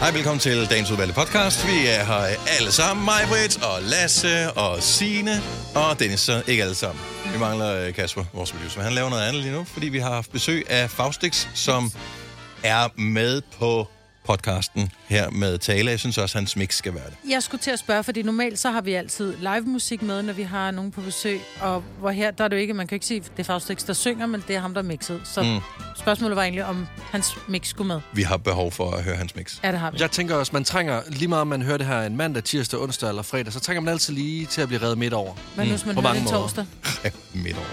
Hej, velkommen til dagens udvalgte podcast. Vi er her alle sammen. Mig, Britt, og Lasse, og Sine og Dennis. Så ikke alle sammen. Vi mangler øh, Kasper, vores producer. men Han laver noget andet lige nu, fordi vi har haft besøg af Faustix, som er med på podcasten her med Tale. Jeg synes også, hans mix skal være det. Jeg skulle til at spørge, fordi normalt så har vi altid live musik med, når vi har nogen på besøg. Og hvor her, der er det jo ikke, man kan ikke sige, det er Faustix, der synger, men det er ham, der mixede. Så Mm. mm. spørgsmålet var egentlig, om hans mix skulle med. Vi har behov for at høre hans mix. Ja, det har vi. Jeg tænker også, man trænger, lige meget om man hører det her en mandag, tirsdag, onsdag eller fredag, så trænger man altid lige til at blive reddet midt over. Hvad nu, hvis man På hører mange det måder. torsdag? Midt over.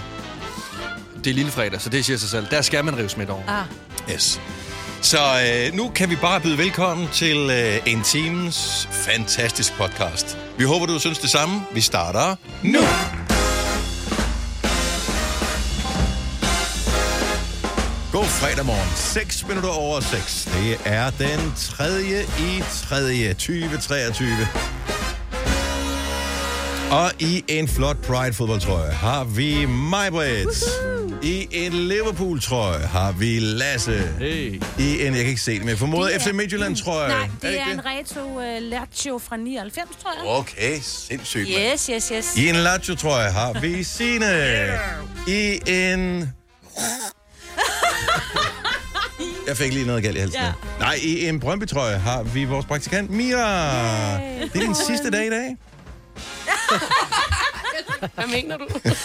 Det er lille fredag, så det siger sig selv. Der skal man rives midt over. Ah, Yes. Så øh, nu kan vi bare byde velkommen til øh, en times fantastisk podcast. Vi håber, du synes det samme. Vi starter nu. God fredag morgen. 6 minutter over 6. Det er den 3. i 3. 2023. Og i en flot Pride fodboldtrøje har vi Majbrit. I en Liverpool trøje har vi Lasse. Hey. I en, jeg kan ikke se det, men jeg formoder Det er- FC Midtjylland trøje. Nej, det ikke er en Reto uh, Lercio fra 99, tror jeg. Okay, sindssygt. mand. Yes, yes, yes. I en Lazio trøje har vi Signe. I en... Jeg fik lige noget galt i halsen. Ja. Nej, i en Brøndby trøje har vi vores praktikant Mira. Det er din sidste dag i dag. Hvad mener du?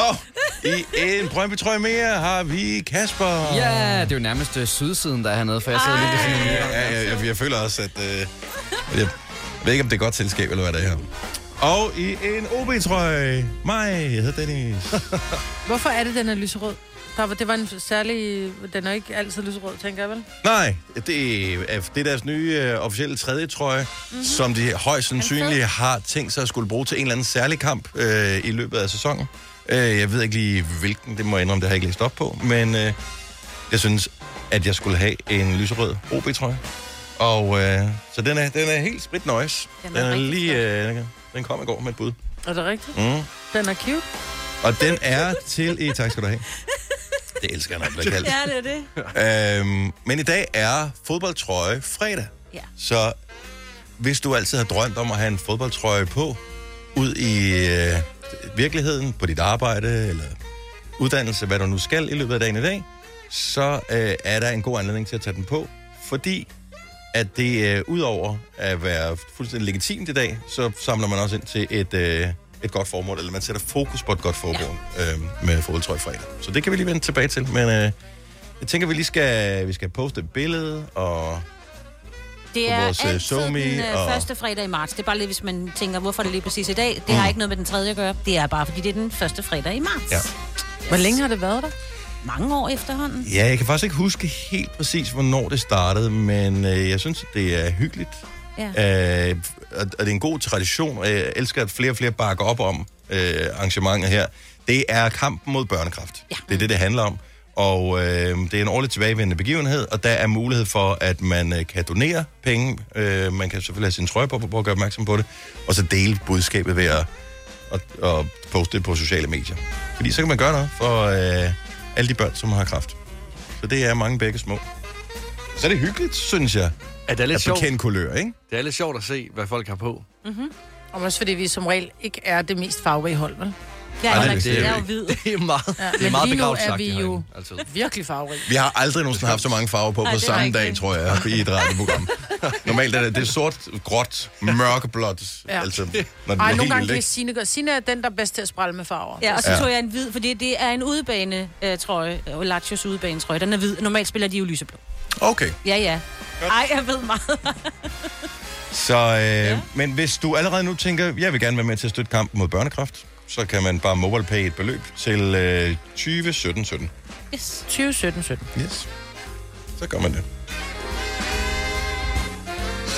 Og i en Brøndby trøje mere har vi Kasper. Ja, det er jo nærmest øh, sydsiden, der er hernede, for jeg sidder lidt ved siden af muren. Ja, jeg, jeg, jeg føler også, at... Øh, jeg ved ikke, om det er godt selskab, eller hvad det er her. Og i en OB-trøje. Mig, jeg hedder Dennis. hvorfor er det, den er lyserød? Der var, det var en særlig... Den er ikke altid lyserød, tænker jeg vel? Nej, det er, det er deres nye øh, officielle tredje trøje, mm-hmm. som de højst sandsynligt har tænkt sig at skulle bruge til en eller anden særlig kamp øh, i løbet af sæsonen. Øh, jeg ved ikke lige hvilken, det må jeg indrømme, det har jeg ikke læst op på, men øh, jeg synes, at jeg skulle have en lyserød OB-trøje. Og øh, så den er, den er helt sprit nøjes. Den Den er, er den er rigtig lige, øh, den kom i går med et bud. Er det rigtigt? Mm. Den er cute. Og den er til... E, tak skal du have. Det elsker jeg, når jeg bliver kaldt. Ja, det er det. Øhm, men i dag er fodboldtrøje fredag. Ja. Så hvis du altid har drømt om at have en fodboldtrøje på, ud i øh, virkeligheden, på dit arbejde eller uddannelse, hvad du nu skal i løbet af dagen i dag, så øh, er der en god anledning til at tage den på, fordi at det øh, udover at være fuldstændig legitimt i dag, så samler man også ind til et, øh, et godt formål, eller man sætter fokus på et godt formål ja. øh, med fodboldtrøje fredag. Så det kan vi lige vende tilbage til, men øh, jeg tænker, vi lige skal, vi skal poste et billede, og Det På er vores, øh, altid SoMe den øh, og- første fredag i marts. Det er bare lidt, hvis man tænker, hvorfor er det lige præcis i dag. Det har ikke noget med den tredje at gøre. Det er bare, fordi det er den første fredag i marts. Mm. Ja. Hvor længe har det været der? Mange år efterhånden. ja, jeg kan faktisk ikke huske helt præcis, hvornår det startede, men øh, jeg synes, det er hyggeligt. Ja. Øh, og, og det er en god tradition, og jeg elsker, at flere og flere bakker op om øh, arrangementet her. Det er kampen mod børnekraft. Ja. Det er det, det handler om. Og øh, det er en årligt tilbagevendende begivenhed, og der er mulighed for, at man øh, kan donere penge. Øh, man kan selvfølgelig have sin trøje på, for at gøre opmærksom på det. Og så dele budskabet ved at og, og poste det på sociale medier. Fordi så kan man gøre noget for øh, alle de børn, som har kraft. Så det er mange begge små. Så er det hyggeligt, synes jeg, Er det er lidt at sjovt? bekende kulør, ikke? Det er lidt sjovt at se, hvad folk har på. Og også fordi vi som regel ikke er det mest farverige hold, vel? Jeg Ej, er, det Ej, vidste jeg jeg er jo jo hvid. Det er meget, ja, det men er meget lige nu er begravet sagt, vi det her, jo- ikke? Altså, Virkelig farverige. Vi har aldrig nogensinde haft så mange farver på Ej, på det er samme rigtigt. dag, tror jeg, i et radioprogram. Normalt er det, det er sort, gråt, mørkeblåt. Ja. Ja. Altså, når det Ej, Ej, nogle helt gange vildt, kan ikke? Signe gøre. Signe er den, der er bedst til at sprælle med farver. Altså, Ja, og så Ja. tog jeg en hvid, fordi det er en udebane øh, trøje. Øh, Lachios udebane trøje. Den er hvid. Normalt spiller de jo lyseblå. Okay, Ja, ja. Ej, jeg ved meget. så... Øh, ja. Men hvis du allerede nu tænker, jeg vil gerne være med til at støtte kampen mod børnekraft, så kan man bare mobile pay et beløb til øh, 20 17 17. Yes. 2017 17 Yes. Så gør man det.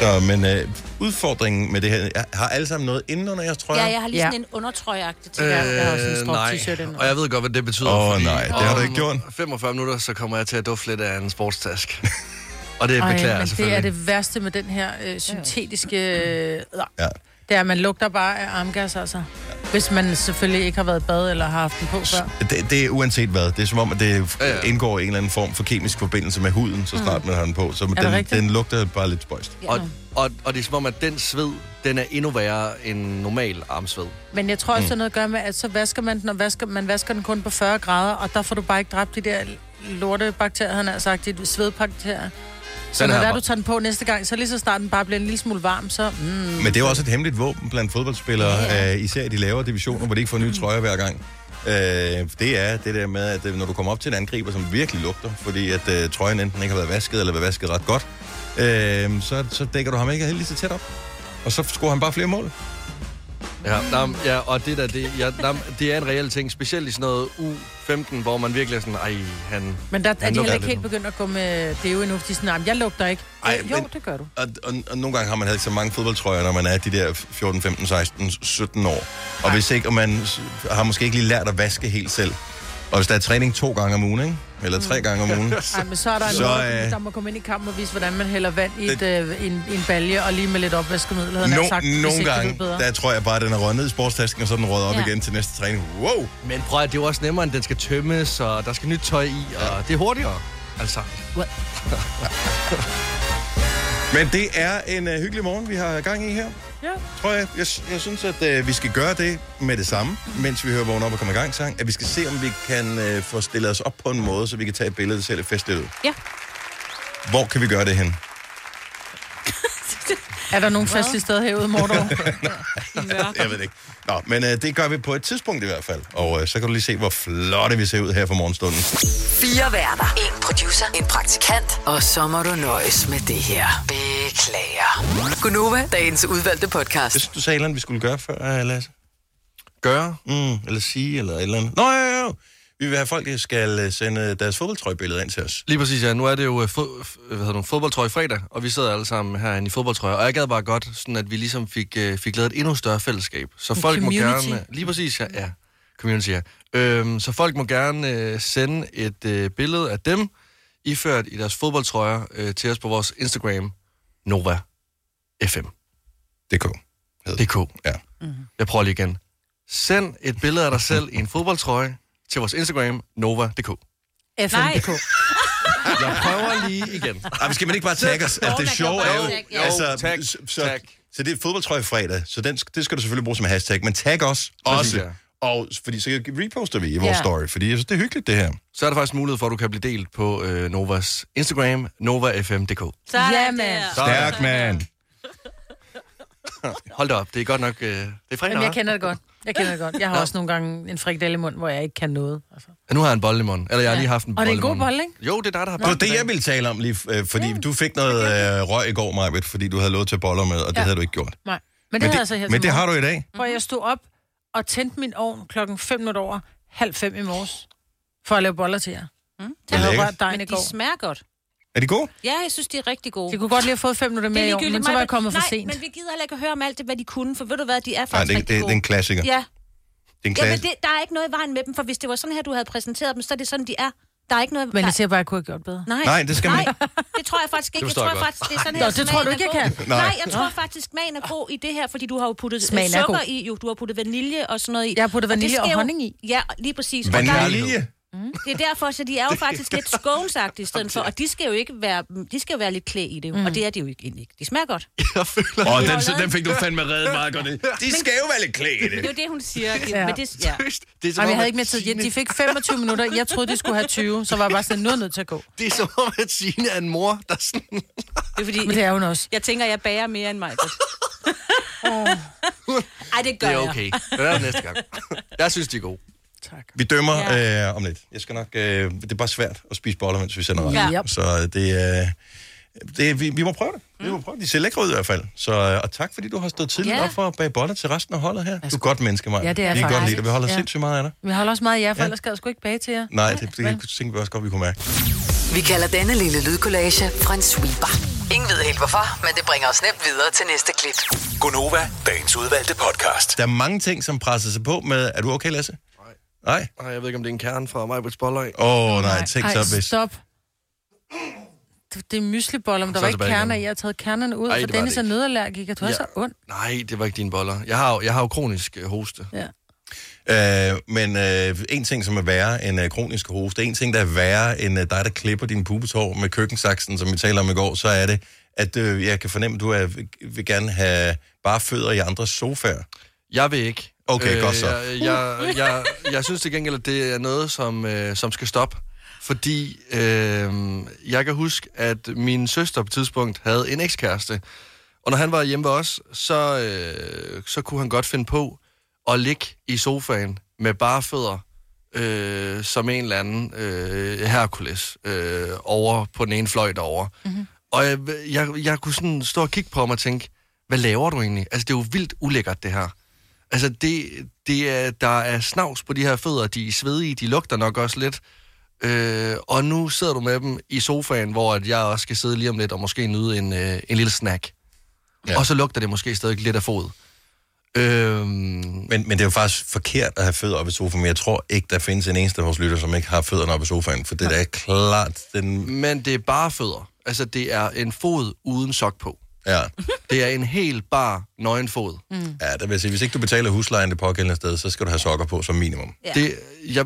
Så, men øh, udfordringen med det her, har alle sammen noget indenunder jeres trøjer? Ja, jeg har lige Ja. sådan en undertrøjeagtig ting. Ja, jeg har også en Øh, strop nej. t-shirt ind. Og jeg ved godt, hvad det betyder. Åh, fordi nej, det har du om ikke gjort. 45 minutter, så kommer jeg til at dufte lidt af en sportstask. Og det Ej, beklager men jeg det er selvfølgelig. det værste med den her øh, syntetiske... Øh, Ja. det er, at man lugter bare af armgas, altså. Hvis man selvfølgelig ikke har været i bad eller har haft den på før. Det, det er uanset hvad. Det er som om, at det Ja, ja, ja. ja. indgår i en eller anden form for kemisk forbindelse med huden, så snart man har den på. Så det den, rigtigt? den lugter bare lidt spøjst. Og, og, og det er som om, at den sved, den er endnu værre end normal armsved. Men jeg tror Mm. også, det har noget at gøre med, at så vasker man den, og vasker, man vasker den kun på 40 grader, og der får du bare ikke dræbt de der lorte bakterier, han har sagt, de svedbakterier. Så Den når her der, var- du tager den på næste gang, så lige så snart den bare bliver en lille smule varm, så... Mm. Men det er jo også et hemmeligt våben blandt fodboldspillere, ja, ja. Øh, især i de lavere divisioner, hvor de ikke får nye trøjer hver gang. Øh, det er det der med, at øh, når du kommer op til en angriber, som virkelig lugter, fordi at øh, trøjen enten ikke har været vasket, eller været vasket ret godt, øh, så, så dækker du ham ikke helt lige så tæt op. Og så scorer han bare flere mål. Ja, nam, ja og det der, det, ja, nam, det er en reel ting. Specielt i sådan noget U15, hvor man virkelig er sådan, ej, han... Men der er de lugter heller ikke lidt. helt begyndt at gå med øh, det er jo endnu, fordi de er sådan, "Nej, men jeg lugter ikke. Ej, Ej, jo, men- det gør du. Og, og, og nogle gange har man heller ikke så mange fodboldtrøjer, når man er de der 14, 15, 16, 17 år. Og hvis ikke, og man s- har måske ikke lige lært at vaske helt selv. Og hvis der er træning to gange om ugen, ikke? eller tre gange om ugen, Ej, men Mm. så er der en Så, så, øh, øh... der må komme ind i kampen og vise, hvordan man hælder vand i et, øh, en, en balje, og lige med lidt opvaskemiddel, havde han No, sagt, hvis nogle ikke du ved gange, bedre. der tror jeg bare, at den er røget ned i sportstasken, og så er den røget op Ja. igen til næste træning. Wow! Men prøv at det er jo også nemmere, end den skal tømmes, og der skal nyt tøj i, og det er hurtigere. Altså, Men det er en uh, hyggelig morgen, vi har gang i her. Ja. Tror jeg. Jeg, s- jeg synes, at uh, vi skal gøre det med det samme, mens vi hører vågen op og kommer i gang sang. At vi skal se, om vi kan uh, få stillet os op på en måde, så vi kan tage et billede, der ser lidt festligt ud. Ja. Hvor kan vi gøre det hen? Er der nogen faste steder herude, Mordor? Jeg ved det ikke. Nå, men uh, det gør vi på et tidspunkt i hvert fald. Og uh, så kan du lige se, hvor flotte vi ser ud her for morgenstunden. Fire værter. En producer. En praktikant. Og så må du nøjes med det her. Beklager. Gunova, dagens udvalgte podcast. Jeg synes, du sagde et eller andet, vi skulle gøre før, uh, Lasse. gøre. Mm, eller sige, eller et eller andet. Nå, jo, jo, jo. Vi vil have folk, der skal øh, sende deres fodboldtrøjebilleder ind til os. Lige præcis, ja. Nu er det jo øh, fod, f- hvad hedder det, fodboldtrøje fredag, og vi sidder alle sammen herinde i fodboldtrøjer. Og jeg gad bare godt, sådan at vi ligesom fik, øh, fik lavet et endnu større fællesskab. Så En folk må community. gerne... Lige præcis, ja. ja. Community, ja. Øhm, så folk må gerne øh, sende et øh, billede af dem, iført i deres fodboldtrøjer, øh, til os på vores Instagram, Nova FM. DK. DK. Ja. Jeg prøver lige igen. Send et billede af dig selv i en fodboldtrøje til vores Instagram, Nova.dk. FN.dk. Jeg prøver lige igen. Ej, men skal man ikke bare tagge os? Altså, det man kan sjove bare er jo... tagge, ja. Altså, Jo, tag, så, så, tag. så det er fodboldtrøje fredag, så den, sk- det skal du selvfølgelig bruge som hashtag, men tag os Præcis, også. ja. Og, fordi så reposter vi i vores Ja. story, fordi jeg synes, det er hyggeligt, det her. Så er der faktisk mulighed for, at du kan blive delt på øh, Novas Instagram, novafm.dk. Sådan Jamen. der. Så- Stærk, mand! Hold da op, det er godt nok... Øh, det er fredag, Jamen, jeg Jamen, kender det godt. Jeg kender det godt. Jeg har også nogle gange en frikdel i munden, hvor jeg ikke kan noget. Altså. ja, Nu har jeg en bolle i munden. Eller jeg har lige haft en Og bolle det er en i god munden. bolle, ikke? Jo, det er dig, der har Det var bolden i det, dag. jeg ville tale om lige, øh, fordi du fik noget øh, røg i går, Majbet, fordi du havde lovet til boller med, og det Ja. havde du ikke gjort. Nej. Men det, Men havde jeg så her det, men det har du i dag. Hvor jeg stod op og tændte min ovn klokken 5 minutter over halv fem i morges, for at lave boller til jer. Jeg havde Lækkert. rørt dejen i Men går. de smager godt. Er det god? Ja, jeg synes, de er rigtig gode. De kunne godt lige have fået 5 minutter Det mere i ovnen, men så var jeg kommet for Nej, sent. men vi gider heller ikke at høre om alt det, hvad de kunne, for ved du hvad, de er Nej, det, faktisk det, rigtig det er gode. en klassiker. Det Ja, er en Jamen, klassiker. det, der er ikke noget i vejen med dem, for hvis det var sådan her, du havde præsenteret dem, så er det sådan, de er. Der er ikke noget... Men der, jeg siger bare, at jeg kunne have gjort bedre. nej, Nej, det skal man nej, det tror jeg faktisk ikke. Det Jeg forstår tror jeg godt. faktisk, det er sådan Nå, her. det tror du smagen ikke, er jeg god. kan. Nej. Nej, jeg tror faktisk, smagen er god i det her, fordi du har jo puttet øh, Smagen er sukker god. i, jo. Du har puttet vanilje og sådan noget i. Jeg har puttet Og det vanilje og skal jo- honning i. Ja, lige præcis. Og der- Vanilje? Det er derfor, så de er jo faktisk lidt skånsagtige i stedet for, og de skal jo ikke være, de skal jo være lidt klæ i det, mm. og det er de jo ikke, egentlig ikke. De smager godt. Jeg føler... Åh, den, lavet- den fik du fandme reddet meget godt. i. De skal jo være lidt klædt i Det er det. jo det, hun siger. Ja. Ja. Men det, ja. Det er, som Jamen, jeg om, havde at ikke mere tid. Ja, Signe- De fik 25 minutter. Jeg troede, de skulle have 20, så var jeg bare sådan, nu er jeg nødt til at gå. Det er som om, at Signe er en mor, der sådan... Det er fordi, Men det er hun også. jeg tænker, jeg bager mere end mig. Ej, det gør Det er jeg. okay. Det er næste gang. Jeg synes, de er gode. Tak. Vi dømmer ja. øh, om lidt. Jeg skal nok, øh, det er bare svært at spise boller, mens vi sender radio. Ja. Så øh, det, øh, det vi, vi må prøve det. Vi Mm. må prøve det. De ser lækre ud i hvert fald. Så, øh, og tak, fordi du har stået tidligt Ja. op for at bage boller til resten af holdet her. Du er et godt menneske, Maja. Ja, det er Vi kan godt faktisk. lide dig. Vi holder ja. Ja. sindssygt meget af dig. Men jeg holder også meget af jer, for Ja. ellers skal jeg sgu ikke bage til jer. Nej, det, det tænkte vi også godt, vi kunne mærke. Vi kalder denne lille lydkollage Frans sweeper. Ingen ved helt hvorfor, men det bringer os nemt videre til næste klip. Gunova, dagens udvalgte podcast. Der er mange ting, som presser sig på med... Er du okay, Lasse? Nej. Nej? Ej, jeg ved ikke, om det er en kerne fra mig på Spotlight. Åh, oh, nej. Tænk Ej, så, hvis... stop. Det, det er mysleboller, men der Så var er ikke det bare kerner igen. i. Jeg har taget kernerne ud, Ej, Ej, for det var Dennis det er ikke. nødallergiker. Du er Ja. så ond. Nej, det var ikke dine boller. Jeg har jo, jeg har jo kronisk øh, hoste. Ja. Øh, men øh, en ting, som er værre end øh, kronisk hoste, en ting, der er værre end øh, dig, der klipper din pubetår med køkkensaksen, som vi talte om i går, så er det, at øh, jeg kan fornemme, at du er, vil gerne have bare fødder i andres sofaer. Jeg vil ikke. Øh, Okay, godt så. Jeg, jeg, jeg, jeg synes til gengæld, at det er noget, som, øh, som skal stoppe. Fordi øh, jeg kan huske, at min søster på et tidspunkt havde en ekskæreste. Og når han var hjemme ved os, så, øh, så kunne han godt finde på at ligge i sofaen med bare fødder, øh, som en eller anden øh, Hercules øh, over på den ene fløj derovre. Mm-hmm. Og jeg, jeg, jeg kunne sådan stå og kigge på ham og tænke, hvad laver du egentlig? Altså, det er jo vildt ulækkert, det her. Altså, det, det er, der er snavs på de her fødder, de er svedige, de lugter nok også lidt. Øh, og nu sidder du med dem i sofaen, hvor at jeg også skal sidde lige om lidt og måske nyde en, øh, en lille snack. Ja. Ja. Og så lugter det måske stadig lidt af fod. Øhm, Men, men det er jo faktisk forkert at have fødder oppe i sofaen, men jeg tror ikke, der findes en eneste af vores lytter, som ikke har fødderne oppe i sofaen, for det der er klart den... men det er bare fødder. Altså, det er en fod uden sok på. Ja, Det er en helt bare nøgen fod. Mm. ja der vil jeg sige, hvis ikke du betaler huslejen det pågældende sted, så skal du have sokker på som minimum. Ja. Det, jeg,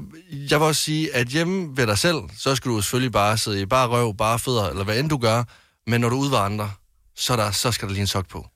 jeg vil også sige, at hjemme ved dig selv, så skal du selvfølgelig bare sidde i bare røv, bare fødder, eller hvad end du gør. Men når du er ude ved andre, så, er der, så skal der lige en sok på.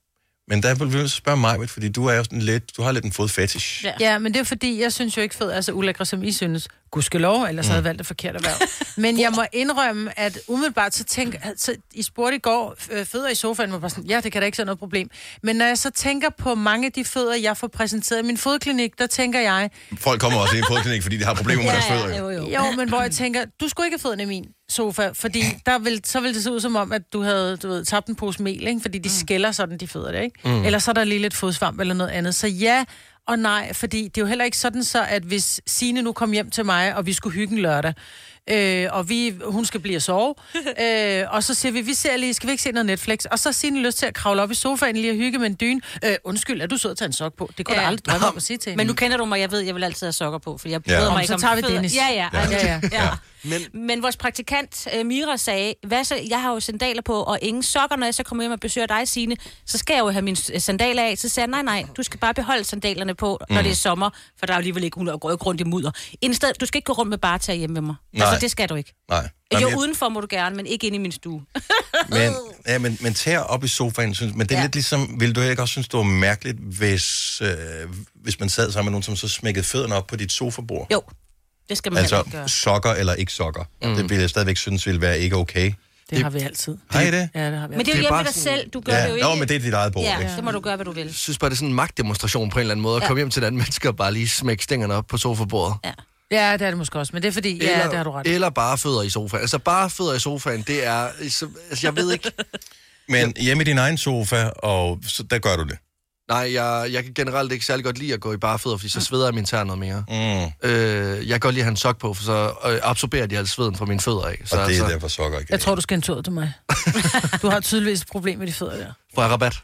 Men der vil jeg spørge mig, fordi du er jo sådan lidt, du har lidt en fodfetish. Ja. Ja, men det er fordi, jeg synes jo ikke fed er så ulækre, som I synes. Gudskelov, ellers havde jeg valgt det forkerte erhverv. Men jeg må indrømme, at umiddelbart så tænker... Altså, I spurgte i går, øh, fødder i sofaen, var bare sådan, ja, det kan da ikke være noget problem. Men når jeg så tænker på mange af de fødder, jeg får præsenteret i min fodklinik, der tænker jeg, Folk kommer også ind i en fodklinik, fordi de har problemer med deres fødder. jo. jo, jo. jo, men hvor jeg tænker, du skulle ikke have fødderne i min sofa, fordi der vil, så vil det se ud som om, at du havde du ved, tabt en pose mel, ikke? fordi de skælder sådan, de fødder det, ikke? Mm. Eller så er der lige lidt fodsvamp eller noget andet. Så ja og nej, fordi det er jo heller ikke sådan så, at hvis Sine nu kom hjem til mig, og vi skulle hygge en lørdag, øh, og vi, hun skal blive at sove, øh, og så siger vi, vi ser lige, skal vi ikke se noget Netflix? Og så har Signe lyst til at kravle op i sofaen lige og hygge med en dyne. Øh, undskyld, er du sød at tage en sok på? Det kunne ja. Ja. jeg aldrig drømme om at sige til hende. Men nu kender du mig, jeg ved, jeg vil altid have sokker på, for jeg Ja. ja. bryder Om, mig ikke så om tager vi fødder. Dennis. Ja, ja. Ja. Ja, ja, ja. ja. ja. Men- Men, Men vores praktikant øh, Mira sagde, hvad så, jeg har jo sandaler på og ingen sokker, når jeg så kommer hjem og besøger dig, Signe, så skal jeg jo have mine s- sandaler af. Så sagde jeg, nej, nej, du skal bare beholde sandalerne på, når det er sommer, for der er jo alligevel ikke hun at gå rundt i mudder. Instead, du skal ikke gå rundt med bare tag hjemme med mig. Nej. Nej. Altså, det skal du ikke. Nej. Jo, Jamen, jeg- udenfor må du gerne, men ikke inde i min stue. Men, ja, men, men tær op i sofaen, synes, men det er ja. lidt ligesom, vil du ikke også synes, det var mærkeligt, hvis, øh, hvis man sad sammen med nogen, som så smækkede fødderne op på dit sofabord? jo, det skal man altså, altså ikke gøre. sokker eller ikke sokker. Mm. Det ville jeg stadigvæk synes ville være ikke okay. Det har vi altid. Har I det? Ja, det har Men vi det altid. er jo Det er hjemme bare ved dig sådan- selv, du gør det jo ikke. Nå, men det er dit eget bord, ja. Ja, ikke? så må du gøre, hvad du vil. Jeg synes bare, det er sådan en magtdemonstration på en eller anden måde, at komme hjem til et andet menneske og bare lige smække stængerne op på sofabordet. Ja. Ja, det er det måske også, men det er fordi, ja, eller, det har du ret i. Eller bare fødder i sofaen. Altså bare fødder i sofaen, det er... Så, altså, jeg ved ikke... Men hjemme i din egen sofa, og så, der gør du det. Nej, jeg, jeg kan generelt ikke særlig godt lide at gå i bare fødder, fordi så sveder jeg min tær noget mere. Mm. Øh, jeg kan godt lide at have en sok på, for så øh, absorberer de al sveden fra mine fødder af. Så Og det er altså, derfor sokker ikke. Jeg tror, du skal en tur til mig. Du har tydeligvis et problem med de fødder der. får jeg rabat.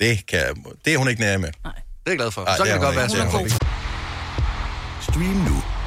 det, kan, det er hun ikke nær med. Det er jeg glad for. Ej, så det kan er det hun godt være ikke. Det er hun sådan. ikke. Stream nu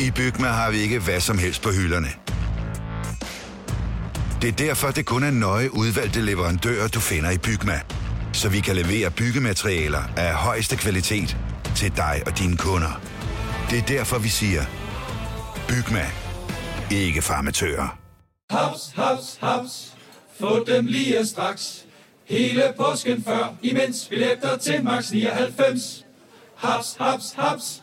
I Bygma har vi ikke hvad som helst på hylderne. Det er derfor, det kun er nøje udvalgte leverandører, du finder i Bygma. Så vi kan levere byggematerialer af højeste kvalitet til dig og dine kunder. Det er derfor, vi siger, Bygma. Ikke farmatører. Haps, haps, haps. Få dem lige straks. Hele påsken før, imens billetter til max 99. Haps, haps, haps.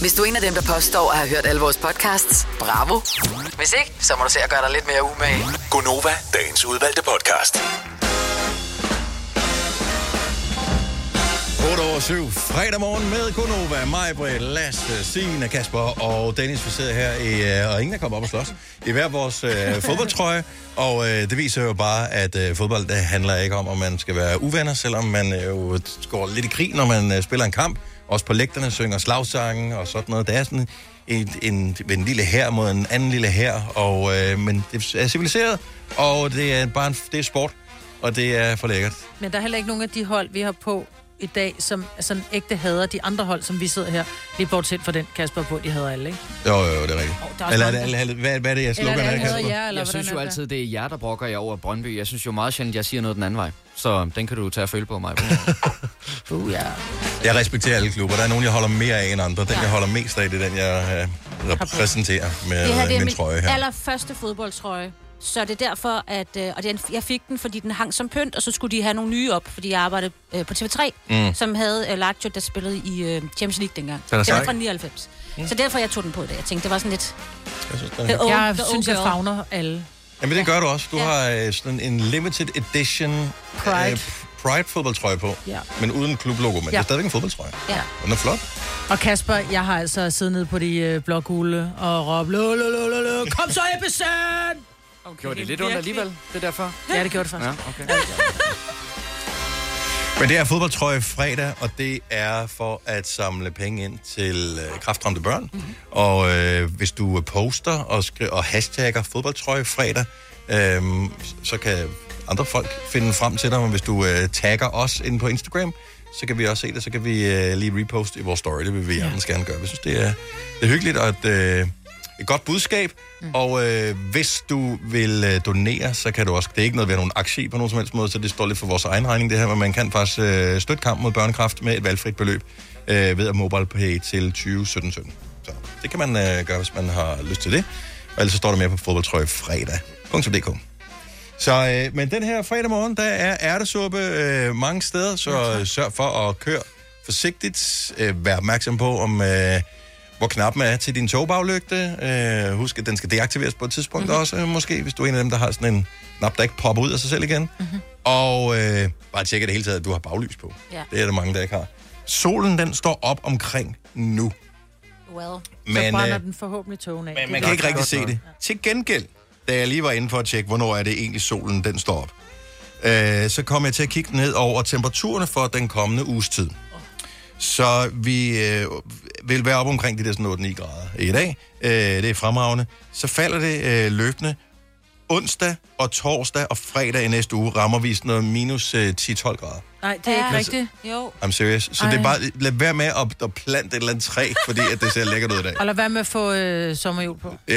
Hvis du er en af dem, der påstår at have hørt alle vores podcasts, bravo. Hvis ikke, så må du se at gøre dig lidt mere umage. Gonova, dagens udvalgte podcast. 8 over 7, fredag morgen med Gunova, mig, Britt, Lasse, Signe, Kasper og Dennis, vi sidder her, i, øh, og ingen er kommet op og slås, i hver vores øh, fodboldtrøje, og øh, det viser jo bare, at øh, fodbold, det handler ikke om, om man skal være uvenner, selvom man øh, jo går lidt i krig, når man øh, spiller en kamp, også på lægterne synger slagsangen og sådan noget, det er sådan en, en, en lille her mod en anden lille her, og, øh, men det er civiliseret, og det er bare en, det er sport, og det er for lækkert. Men der er heller ikke nogen af de hold, vi har på i dag, som sådan ægte hader de andre hold, som vi sidder her. Lige bortset fra den Kasper på, de hader alle, ikke? Jo, jo, det er rigtigt. der er Oh, også eller, mange, eller, eller, eller, hvad, hvad er det, jeg slukker? Eller er det den her, allerede Kasper? jer, eller jeg synes hvordan jo er det? altid, det er jer, der brokker jer over Brøndby. Jeg synes jo meget sjældent, jeg siger noget den anden vej. Så den kan du tage at føle på mig. uh, ja. Jeg respekterer alle klubber. Der er nogen, jeg holder mere af end andre. Den, jeg holder mest af, det er den, jeg øh, repræsenterer med øh, det her det er min, min trøje her. allerførste fodboldtrøje. Så det er derfor, at... Øh, og den, jeg fik den, fordi den hang som pynt, og så skulle de have nogle nye op, fordi jeg arbejdede øh, på TV3, Mm. mm. som havde øh, Lazio, der spillede i øh, Champions League dengang. Den er den sej. var fra 99. Mm. Så derfor, jeg tog den på i dag. Jeg tænkte, det var sådan lidt... Jeg synes, den The old, Jeg the old synes, jeg girl. fagner alle. Jamen, det gør du også. Du har øh, sådan en limited edition øh, Pride. Pride fodboldtrøje på, Ja. men uden klublogo, men det Ja. er stadigvæk en fodboldtrøje. Ja. Og Den er flot. Og Kasper, jeg har altså siddet nede på de øh, blå gule og råbt, "Lå, lå, lå, lå, lå, kom så, Ebbesen! Okay, Gjorde det lidt ondt alligevel, det er derfor? Ja, det gjorde det faktisk. Ja, okay. Men det er fodboldtrøje fredag, og det er for at samle penge ind til øh, kraftramte børn. Mm-hmm. Og øh, hvis du poster og, skri- og hashtagger fodboldtrøje fredag, øh, så kan andre folk finde frem til dig. Men hvis du øh, tagger os inde på Instagram, så kan vi også se det. Så kan vi øh, lige reposte i vores story. Det vil vi hjertens gerne gøre. Vi synes, det er, det er hyggeligt og et, øh, et godt budskab. Mm. Og øh, hvis du vil øh, donere, så kan du også... Det er ikke noget ved at have nogle aktie på nogen som helst måde, så det står lidt for vores egen regning, det her. Men man kan faktisk øh, støtte kampen mod børnekræft med et valgfrit beløb øh, ved at mobile pay til 2017. Så det kan man øh, gøre, hvis man har lyst til det. Og ellers så står der mere på fodboldtrøjefredag.dk. Så, øh, men den her fredag morgen, der er ærtesuppe øh, mange steder, så øh, sørg for at køre forsigtigt. Øh, vær opmærksom på, om øh, hvor knappen er til din togbaglygte. Øh, husk, at den skal deaktiveres på et tidspunkt mm-hmm. også, øh, måske, hvis du er en af dem, der har sådan en knap, der ikke popper ud af sig selv igen. Mm-hmm. Og øh, bare tjek i det hele taget, at du har baglys på. Ja. Det er der mange, der ikke har. Solen, den står op omkring nu. Well. så Men, brænder øh, den forhåbentlig togen af. Men man kan ikke rigtig se det. Til gengæld, da jeg lige var inde for at tjekke, hvornår er det egentlig solen, den står op, øh, så kom jeg til at kigge ned over temperaturerne for den kommende uges tid. Så vi øh, vil være op omkring de der sådan 8-9 grader i dag. Øh, det er fremragende. Så falder det øh, løbende. Onsdag og torsdag og fredag i næste uge rammer vi sådan noget minus øh, 10-12 grader. Nej, det er ikke Ja. rigtigt. Jo. I'm serious. Så Ej. det er bare, lad være med at, at plante et eller andet træ, fordi at det ser lækkert ud i dag. Og lad være med at få øh, sommerhjul på. Ja,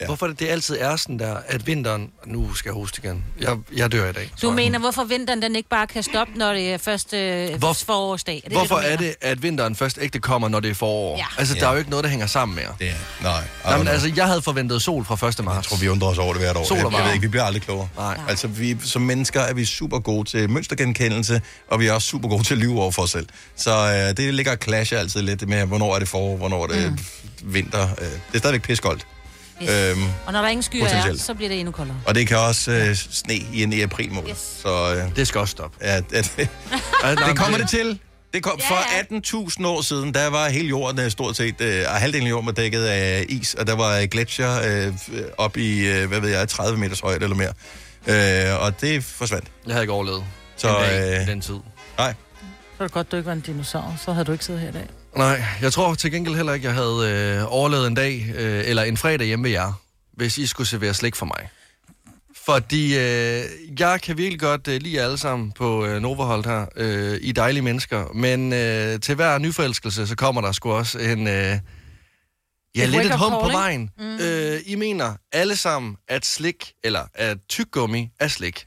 ja. Hvorfor er det, det altid er sådan der, at vinteren... Nu skal jeg hoste igen. Jeg, jeg dør i dag. Du mener, hvorfor vinteren den ikke bare kan stoppe, når det er første øh, Hvor- forårsdag? Er det Hvorfor det, du er mener? det, at vinteren først ægte kommer, når det er forår? Ja. Altså, der Ja. er jo ikke noget, der hænger sammen mere. Det er, nej. Nej, men altså, jeg havde forventet sol fra 1. marts. Jeg tror, vi undrer os over det hvert år. Sol og jeg, jeg ved varme. ikke, vi bliver aldrig klogere. Nej. Altså, vi, som mennesker er vi super gode til mønstergenkendelse, og vi er også super gode til at lyve over for os selv. Så øh, det ligger og clasher altid lidt med, hvornår er det forår, hvornår er det mm. vinter. Øh, det er stadigvæk piskoldt. Yes. Øhm, Og når der ingen skyer er, potentielt. så bliver det endnu koldere. og det kan også øh, sne i en i april måned. Yes. Så, øh, det skal også stoppe. Ja, det, det, det kommer det til. Det kom, for 18.000 år siden, der var hele jorden øh, stort set, øh, og halvdelen af jorden var dækket af is, og der var øh, gletsjer øh, f- op i, øh, hvad ved jeg, 30 meters højde eller mere. Øh, og det forsvandt. Jeg havde ikke overlevet. Så, en dag, øh, den tid. Nej. Så er det godt, du ikke var en dinosaur. Så havde du ikke siddet her i dag. Nej, jeg tror til gengæld heller ikke, jeg havde øh, overlevet en dag, øh, eller en fredag hjemme ved jer, hvis I skulle servere slik for mig. Fordi øh, jeg kan virkelig godt øh, lide jer alle sammen på øh, Novahold her. Øh, I er dejlige mennesker. Men øh, til hver nyforelskelse, så kommer der sgu også en... Øh, ja, Et lidt et wake-up hum på call, ikke? vejen. Mm. Øh, I mener alle sammen, at slik, eller at tyggegummi er slik.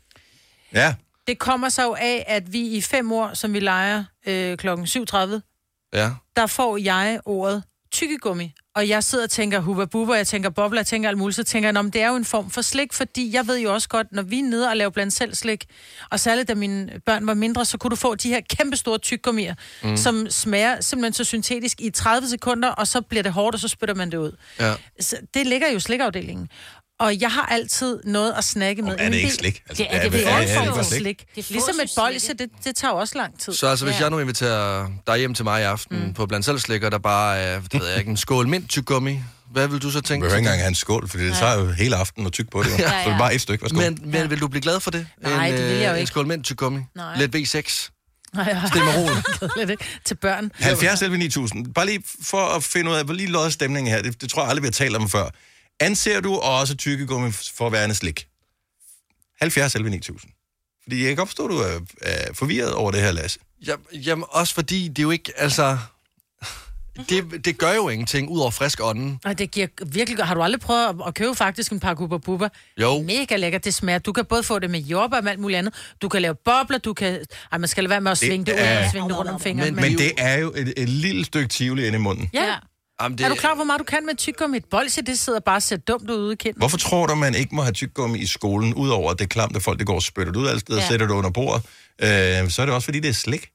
Ja. Det kommer så jo af, at vi i fem år, som vi leger øh, klokken 7.30, Ja. der får jeg ordet tykkegummi. og jeg sidder og tænker hubba bubba, jeg tænker bobler, jeg tænker alt muligt, så tænker jeg, om det er jo en form for slik, fordi jeg ved jo også godt, når vi er nede og laver blandt selv slik, og særligt da mine børn var mindre, så kunne du få de her kæmpe store tyggegummier, Mm. mm. som smager simpelthen så syntetisk i 30 sekunder, og så bliver det hårdt, og så spytter man det ud. Ja. Så det ligger jo i slikafdelingen. Og jeg har altid noget at snakke med. er det Jamen, ikke slik? Altså, Altså, det, er, det, hvad- det, er, hvad det, er det for for slik? slik. Det er Ligesom et bolse, det, det tager jo også lang tid. Så altså, hvis ja. jeg nu inviterer dig hjem til mig i aften mm. på blandt selv slikker, der bare er, det ved jeg ikke, en skål mint tyggegummi, hvad vil du så tænke? vil jo ikke engang have en skål, for det tager jo hele aftenen at tygge på det. jo. Så det er bare et stykke, værsgo. Men, men vil du blive glad for det? Nej, en, det vil jeg jo øh, En ikke. skål mint tyggegummi? Nej. Lidt V6? Nej, jeg Stil mig roligt. Kedeligt, ikke? Til børn. 70 11 9000. Bare lige for at finde ud af, hvor lige løjet stemningen her. Det, det tror jeg aldrig, vi har talt om før. Anser du også tykkegummi for at være en slik? 70 11 9000. Fordi jeg kan godt forstå, at du er, er forvirret over det her, Lasse. Ja, jamen, også fordi det er jo ikke, altså... Mhm. Det, det gør jo ingenting, ud over frisk ånden. Og det giver virkelig godt. Har du aldrig prøvet at, at købe faktisk en pakke Hubba Bubba? Jo. Mega lækkert, det smager. Du kan både få det med jordbær og alt muligt andet. Du kan lave bobler, du kan... Ej, man skal lade være med at Det svinge det, ud er- og svinge det rundt om fingrene. Men, men, det er jo et, et lille stykke tivoli inde i munden. Ja. ja. Jamen, Det... Er du klar, over, hvor meget du kan med tyggegummi? Et bolse, det sidder bare og ser dumt ud ude i kinden. Hvorfor tror du, man ikke må have tyggegummi i skolen, udover at det er klamt, at folk det går og spytter det ud alle steder, ja. Ja. sætter det under bordet? Øh, så er det også, fordi det er slik.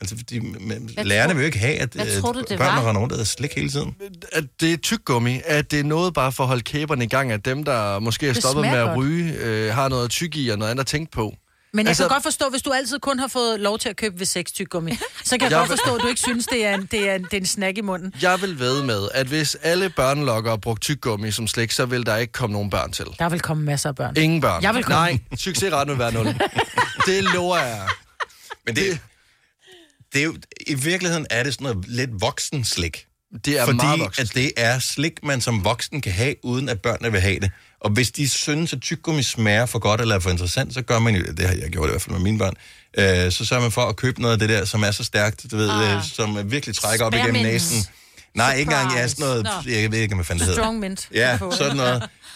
Altså, fordi, men, Hvad lærerne tror- vil jo ikke have, at øh, hvad tror du, det børnene var? render rundt og æder slik hele tiden. At det er tyggegummi, at det er noget bare for at holde kæberne i gang, at dem, der måske er Det stoppet med smager at godt. ryge, øh, har noget at tygge i og noget andet at tænke på. Men jeg altså... kan godt forstå, hvis du altid kun har fået lov til at købe ved seks tyggegummi, så kan jeg, Jeg jeg godt vil- forstå, at du ikke synes, det er en, det er en, det er en snack i munden. Jeg vil ved med, at hvis alle børnelokkere brugte tyggegummi som slik, så vil der ikke komme nogen børn til. Der vil komme masser af børn. Ingen børn. Jeg vil komme. Nej, succesretten vil være nul. det lover jeg. Men det, det er jo, i virkeligheden er det sådan noget lidt voksen slik. Det er Fordi meget voksen at det er slik, man som voksen kan have, uden at børnene vil have det. Og hvis de synes, at tyggegummi smager for godt eller er for interessant, så gør man jo, det har jeg gjort i hvert fald med mine børn, øh, så sørger man for at købe noget af det der, som er så stærkt, du ved, øh, som virkelig trækker op igennem Spearmint. næsen. Nej, ikke engang, ja, Surprise. sådan noget, Nå. jeg ved ikke, hvad fanden det hedder. Strong mint. Ja, På. sådan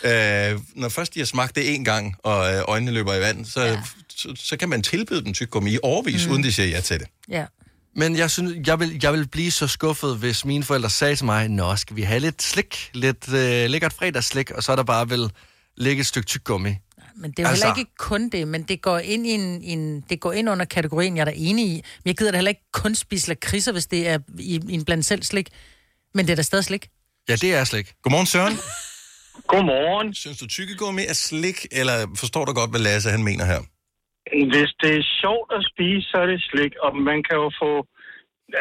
noget. Øh, når først de har smagt det en gang, og øh, øjnene løber i vand, så, ja. så, så kan man tilbyde dem tyggegummi i overvis, mm. uden de siger ja til det. Ja. Men jeg, synes, jeg, vil, jeg vil blive så skuffet, hvis mine forældre sagde til mig, Nå, skal vi have lidt slik, lidt øh, lækkert fredagsslik, og så er der bare vil ligge et stykke tyggegummi. Men det er jo altså... heller ikke kun det, men det går ind, i en, en, det går ind under kategorien, jeg er da enig i. Men jeg gider da heller ikke kun spise lakridser, hvis det er i, i en blandt selv slik. Men det er da stadig slik. Ja, det er slik. Godmorgen, Søren. Godmorgen. Synes du, tykkegummi er slik, eller forstår du godt, hvad Lasse han mener her? Hvis det er sjovt at spise, så er det slik, og man kan jo få...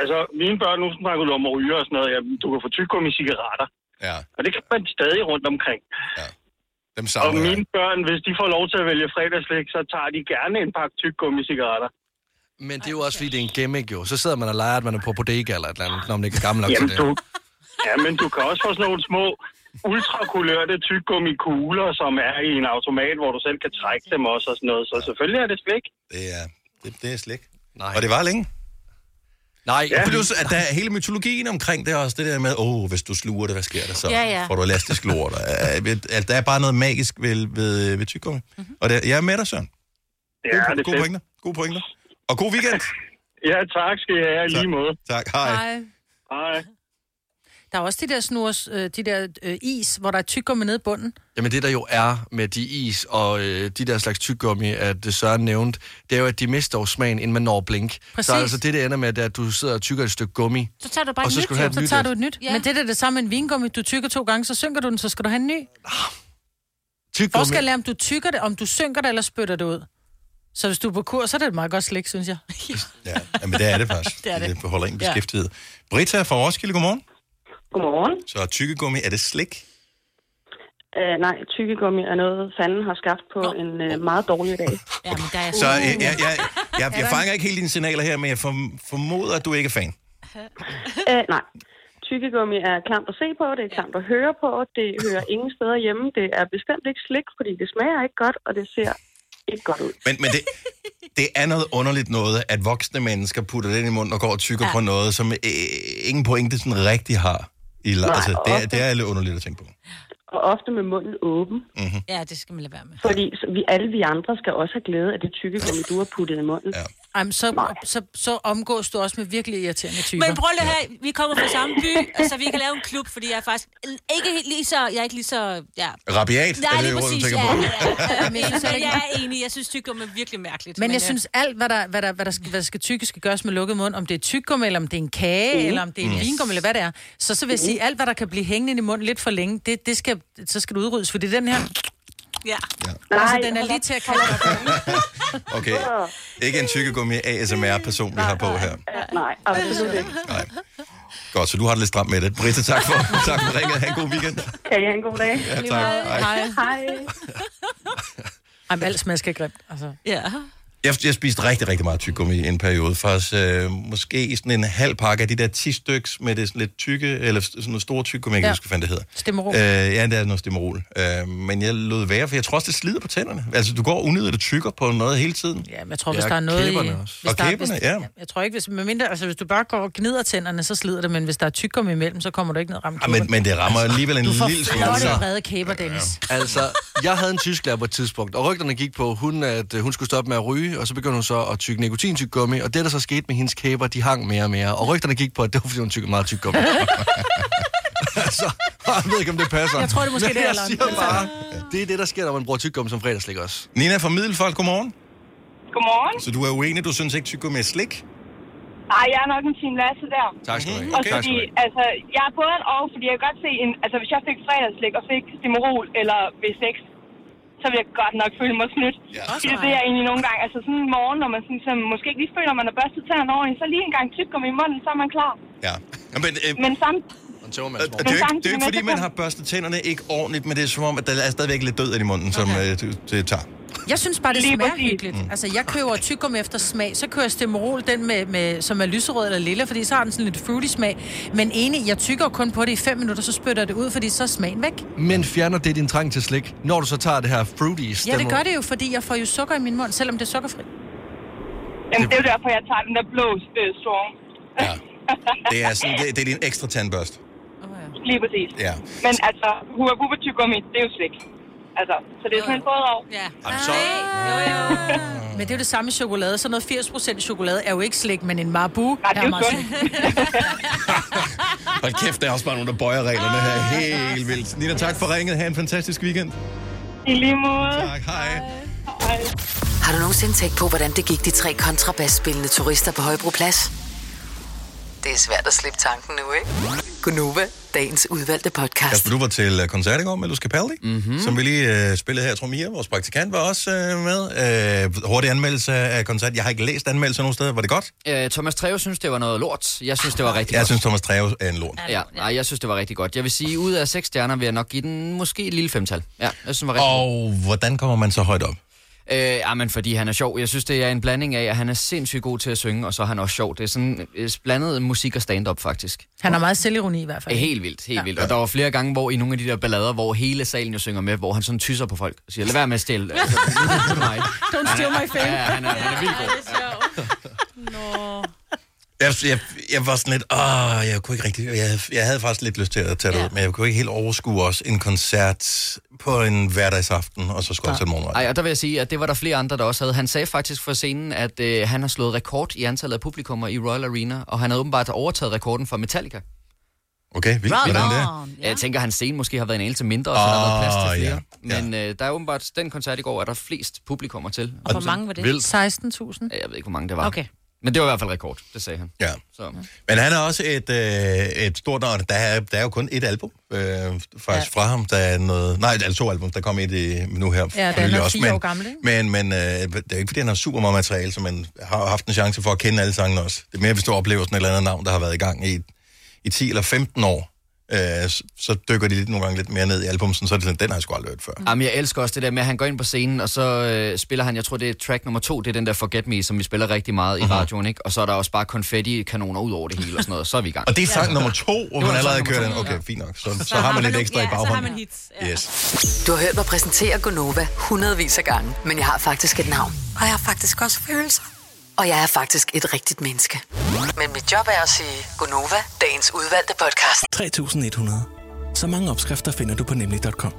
Altså, mine børn nu snakker du om at ryge og sådan noget. Ja, du kan få tyggegummi cigaretter. Ja. Og det kan man stadig rundt omkring. Ja. Dem og savner mine børn, hvis de får lov til at vælge fredagslik, så tager de gerne en pakke tyggegummi cigaretter. Men det er jo også, fordi det er en gimmick jo. Så sidder man og leger, at man er på bodega eller et eller andet, når man ikke er gammel nok Jamen, til det. du, ja, men du kan også få sådan nogle små ultrakulørte tyggegummi-kugler, som er i en automat, hvor du selv kan trække dem også og sådan noget. Så selvfølgelig er det slik. Det er, det, det er slik. Nej. Og det var længe. Nej. Ja. Plus, at der er hele mytologien omkring det også, det der med, åh, oh, hvis du sluger det, hvad sker der så? Ja, ja. Får du elastisk lort? og, øh, ved- at der er bare noget magisk ved, ved, ved tyggegummi. Mhm. Mm-hmm. Og det, jeg er med dig, Søren. Ja, gode, det er gode fedt. pointer. Gode pointer. Og god weekend. Ja, tak skal I have i lige måde. Tak, hej. Hej. Der er også de der snores, øh, de der øh, is, hvor der er tyggegummi nede i bunden. Jamen det der jo er med de is og øh, de der slags tyggegummi, at øh, Søren nævnte, det er jo, at de mister jo smagen, inden man når at blink. Præcis. Så altså det, det ender med, det er, at du sidder og tykker et stykke gummi. Så tager du bare Og et så nyt, skal du have jo. et så nyt tager et. du et nyt. Ja. Men det er da det samme med en vingummi. Du tykker to gange, så synker du den, så skal du have en ny. Tyggegummi. Forskel er, om du tykker det, om du synker det, eller spytter det ud. Så hvis du er på kur, så er det et meget godt slik, synes jeg. Ja, men det er det faktisk. Det er det. det holder en Ja. beskæftiget. Britta fra Roskilde, godmorgen. Godmorgen. Så tykkegummi, er det slik? Uh, nej, tykkegummi er noget, fanden har skabt på en uh, meget dårlig dag. ja, men der er Så øh, jeg, jeg, jeg, jeg, jeg fanger ikke helt dine signaler her, men jeg form- formoder, at du ikke er fan. Uh, nej. Tykkegummi er klamt at se på, det er klamt at høre på, det hører ingen steder hjemme, det er bestemt ikke slik, fordi det smager ikke godt, og det ser ikke godt ud. Men, men det, det er noget underligt noget, at voksne mennesker putter det ind i munden og går og tykker ja. på noget, som øh, ingen pointe sådan rigtig har. I, la- Nej, altså, det, er, og- det er lidt underligt at tænke på. Og ofte med munden åben. Mm-hmm. Ja, det skal man lade være med. Fordi så vi, alle vi andre skal også have glæde af det tykkegummi, du har puttet i munden. Ja. Jamen, så, så, så omgås du også med virkelig irriterende typer. Men prøv lige her, vi kommer fra samme by, så altså, vi kan lave en klub, fordi jeg er faktisk ikke helt lige så, jeg er ikke lige så, ja. Rabiat, Nej, er det ordet, lige du præcis, tænker ja, på? ja, ja. Men Jeg synes, jeg, at- jeg er enig, jeg synes tyggegummi er virkelig mærkeligt. Men jeg øh, synes alt, hvad der, hvad der, hvad der, skal, hvad der skal tykke, skal gøres med lukket mund. Om det er tyggegummi, eller om det er en kage, Mm. mm. eller om det er en Yes. yes. vingummi, eller hvad det er. Så, så vil jeg sige, alt hvad der kan blive hængende i munden lidt for længe, det, det skal, så skal det udryddes. Fordi den her, Ja. altså, den er lige til at kalde op. Okay. Ikke en tykkegummi ASMR-person, vi har på her. Nej, absolut ikke. Godt, så du har det lidt stramt med det. Britta, tak for, tak for ringet. Ha' en god weekend. Kan I have en god dag? Ja, tak. Hej. Hej. Jamen, alt smasker grimt. Altså. Ja. Jeg, jeg spiste rigtig, rigtig meget tyggegummi i en periode. Faktisk øh, måske sådan en halv pakke af de der 10 styks med det sådan lidt tykke, eller sådan nogle store tyggegummi, jeg kan Ja. ikke huske, hvad fanden det hedder. Stemmerol. Øh, ja, det er noget stimmerol. Øh, men jeg lod være, for jeg tror også, det slider på tænderne. Altså, du går unødigt og tykker på noget hele tiden. Ja, men jeg tror, hvis der er noget i... Hvis Og der, kæberne, hvis, ja. Jeg tror ikke, hvis, med mindre, altså, hvis du bare går og gnider tænderne, så slider det, men hvis der er tyggegummi imellem, så kommer du ikke ned og rammer Ja, Ah, men, men det rammer alligevel en Altså, Du får lille smule. flotte og brede kæber, Dennis. Altså, jeg havde en tysklærer på et tidspunkt, og rygterne gik på, hun, at øh, hun skulle stoppe med at ryge, og så begyndte hun så at tykke nikotintyggegummi, og det, der så skete med hendes kæber, de hang mere og mere, og rygterne gik på, at det var, fordi hun tykkede meget tyggegummi. altså, jeg ved ikke, om det passer. Jeg tror, det er måske Men det, jeg alderen. siger bare, det er det, der sker, når man bruger tyggegummi som fredagslik også. Nina fra Middelfart, godmorgen. Godmorgen. Så du er uenig, du synes ikke, tyggegummi er slik? Ej, jeg er nok en team Lasse der. Tak skal du have. Og Okay. fordi, altså, jeg er både en og, fordi jeg kan godt se, en, altså hvis jeg fik fredagslæg og fik Stimorol eller V6, så ville jeg godt nok føle mig snydt. Ja. Det er det, jeg egentlig nogle gange, altså sådan en morgen, når man sådan, så måske ikke lige føler, at man har børstet tænderne ordentligt, så lige en gang tyggegummi i munden, så er man klar. Ja. Ja, Men, øh, Men samt, Og Det er, jo ikke, det er jo ikke, fordi man har børstet tænderne ikke ordentligt, men det er som om, at der er stadigvæk lidt død i munden, som øh, du, det tager. Jeg synes bare, det Lige smager præcis. hyggeligt. Mm. Altså, jeg køber tyggegummi efter smag, så kører jeg stemmerol, den med, med, som er lyserød eller lilla, fordi så har den sådan lidt fruity smag. Men enig, jeg tykker jo kun på det i 5 minutter, så spytter det ud, fordi så er smagen væk. Men fjerner det din trang til slik, når du så tager det her fruity Ja, stemmer? det gør det jo, fordi jeg får jo sukker i min mund, selvom det er sukkerfri. Mm. jamen, det er jo derfor, jeg tager den der blå øh, strong. Det er, sådan, det, det er din ekstra tandbørst. Lige præcis. Ja. Men altså, hua buba tyggegummi, det er jo slik. Altså, så det er sådan en både og. Ja. Så, Men det er jo det samme med chokolade. Så noget 80% chokolade er jo ikke slik, men en marabu. det er her jo meget sundt. slik. hold kæft, der er også bare nogen, der bøjer reglerne her helt vildt. Nina, tak for ringet. Ha' en fantastisk weekend. I lige måde. Tak, hej. Har du nogensinde tænkt på, hvordan det gik de tre kontrabasspillende turister på Højbroplads? Det er svært at slippe tanken nu, ikke? Gunova, dagens udvalgte podcast. Kasper, du var til øh, koncert i går med Luz Capaldi, mm-hmm. som vi lige øh, spillede her. Jeg tror, Mia, vores praktikant, var også øh, med. Øh, hurtig anmeldelse af koncert. Jeg har ikke læst anmeldelser nogen steder. Var det godt? Øh, Thomas Treve synes, det var noget lort. Jeg synes, det var rigtig Jeg godt. synes, Thomas Treve er en lort. Ja, nej, jeg synes, det var rigtig godt. Jeg vil sige, ud af seks stjerner vil jeg nok give den måske et lille femtal. Ja, jeg synes, det var rigtig godt. Og hvordan kommer man så højt op? Øh, jamen, fordi han er sjov. Jeg synes, det er en blanding af, at han er sindssygt god til at synge, og så er han også sjov. Det er sådan øh, blandet musik og stand-up, faktisk. Han har meget selvironi i hvert fald. Helt vildt, helt vildt. Og der var flere gange, hvor i nogle af de der ballader, hvor hele salen jo synger med, hvor han sådan tysser på folk og siger, lad være med at stille. Altså, til mig. Don't steal my fame. Ja, han er, han er vildt god. Jeg, jeg, jeg var sådan lidt, åh, jeg kunne ikke rigtig, jeg, jeg havde faktisk lidt lyst til at tage det ja. ud, men jeg kunne ikke helt overskue også en koncert på en hverdagsaften, og så skulle jeg til morgenret. Ej, og der vil jeg sige, at det var der flere andre, der også havde. Han sagde faktisk fra scenen, at øh, han har slået rekord i antallet af publikummer i Royal Arena, og han havde åbenbart overtaget rekorden fra Metallica. Okay, vildt, hvordan det er. Ja. Jeg tænker, at hans scene måske har været en anelse mindre, så oh, der har været plads Åh, til ja, flere. Ja, ja. Men øh, der er åbenbart, den koncert i går er der flest publikummer til. Og hvor mange var det? Vildt. 16.000. Jeg ved ikke, hvor mange det var. Okay. Men det var i hvert fald rekord, det sagde han. Ja. Så. Men han er også et, øh, et stort navn. Der er, der er jo kun et album øh, faktisk ja. fra ham. Der er noget, nej, altså to album, der kom et øh, nu her. for Ja, den nylig er fire men, år gammel, ikke? Men, men øh, det er jo ikke, fordi han har super meget materiale, så man har haft en chance for at kende alle sangene også. Det er mere, hvis du oplever sådan et eller andet navn, der har været i gang i, i 10 eller 15 år, øh, så, så dykker de lidt, nogle gange lidt mere ned i albummet, sådan, så er det sådan, den har jeg sgu aldrig hørt før. Jamen, jeg elsker også det der med, at han går ind på scenen, og så øh, spiller han, jeg tror, det er track nummer to, det er den der Forget Me, som vi spiller rigtig meget i radioen, ikke? Og så er der også bare konfetti-kanoner ud over det hele og sådan noget, så er vi i gang. Og det er sang nummer to, hvor Det var man sang allerede nummer kører to, den. ja. Okay, fint nok. Så, så har man lidt ekstra i baghånden. hits. Yes. Du har hørt mig præsentere Gunova hundredvis af gange, men jeg har faktisk et navn. Og jeg har faktisk også følelser. Og jeg er faktisk et rigtigt menneske. Men mit job er at sige Gunova, dagens udvalgte podcast. 3100. Så mange opskrifter finder du på nemlig.com.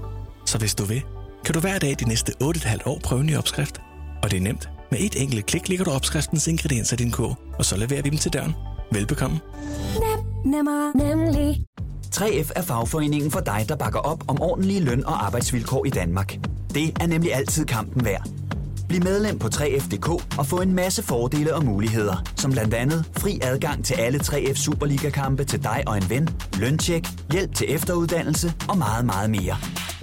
Så hvis du vil, kan du hver dag de næste 8,5 år prøve en ny opskrift. Og det er nemt. Med et enkelt klik ligger du opskriftens ingredienser i din kog, og så leverer vi dem til døren. Velbekomme. Nemmer, nemlig. 3F er fagforeningen for dig, der bakker op om ordentlige løn- og arbejdsvilkår i Danmark. Det er nemlig altid kampen værd. Bliv medlem på 3F.dk og få en masse fordele og muligheder, som blandt andet fri adgang til alle 3F Superliga-kampe til dig og en ven, løntjek, hjælp til efteruddannelse og meget, meget mere.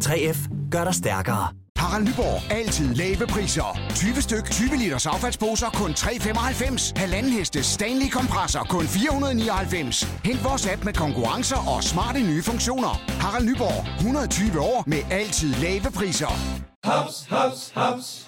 3F gør dig stærkere. Harald Nyborg. Altid lave priser. 20 styk, 20 liters affaldsposer kun 3,95. Halvanden heste Stanley kompresser kun 499. Hent vores app med konkurrencer og smarte nye funktioner. Harald Nyborg. 120 år med altid lave priser. Haps, haps, haps.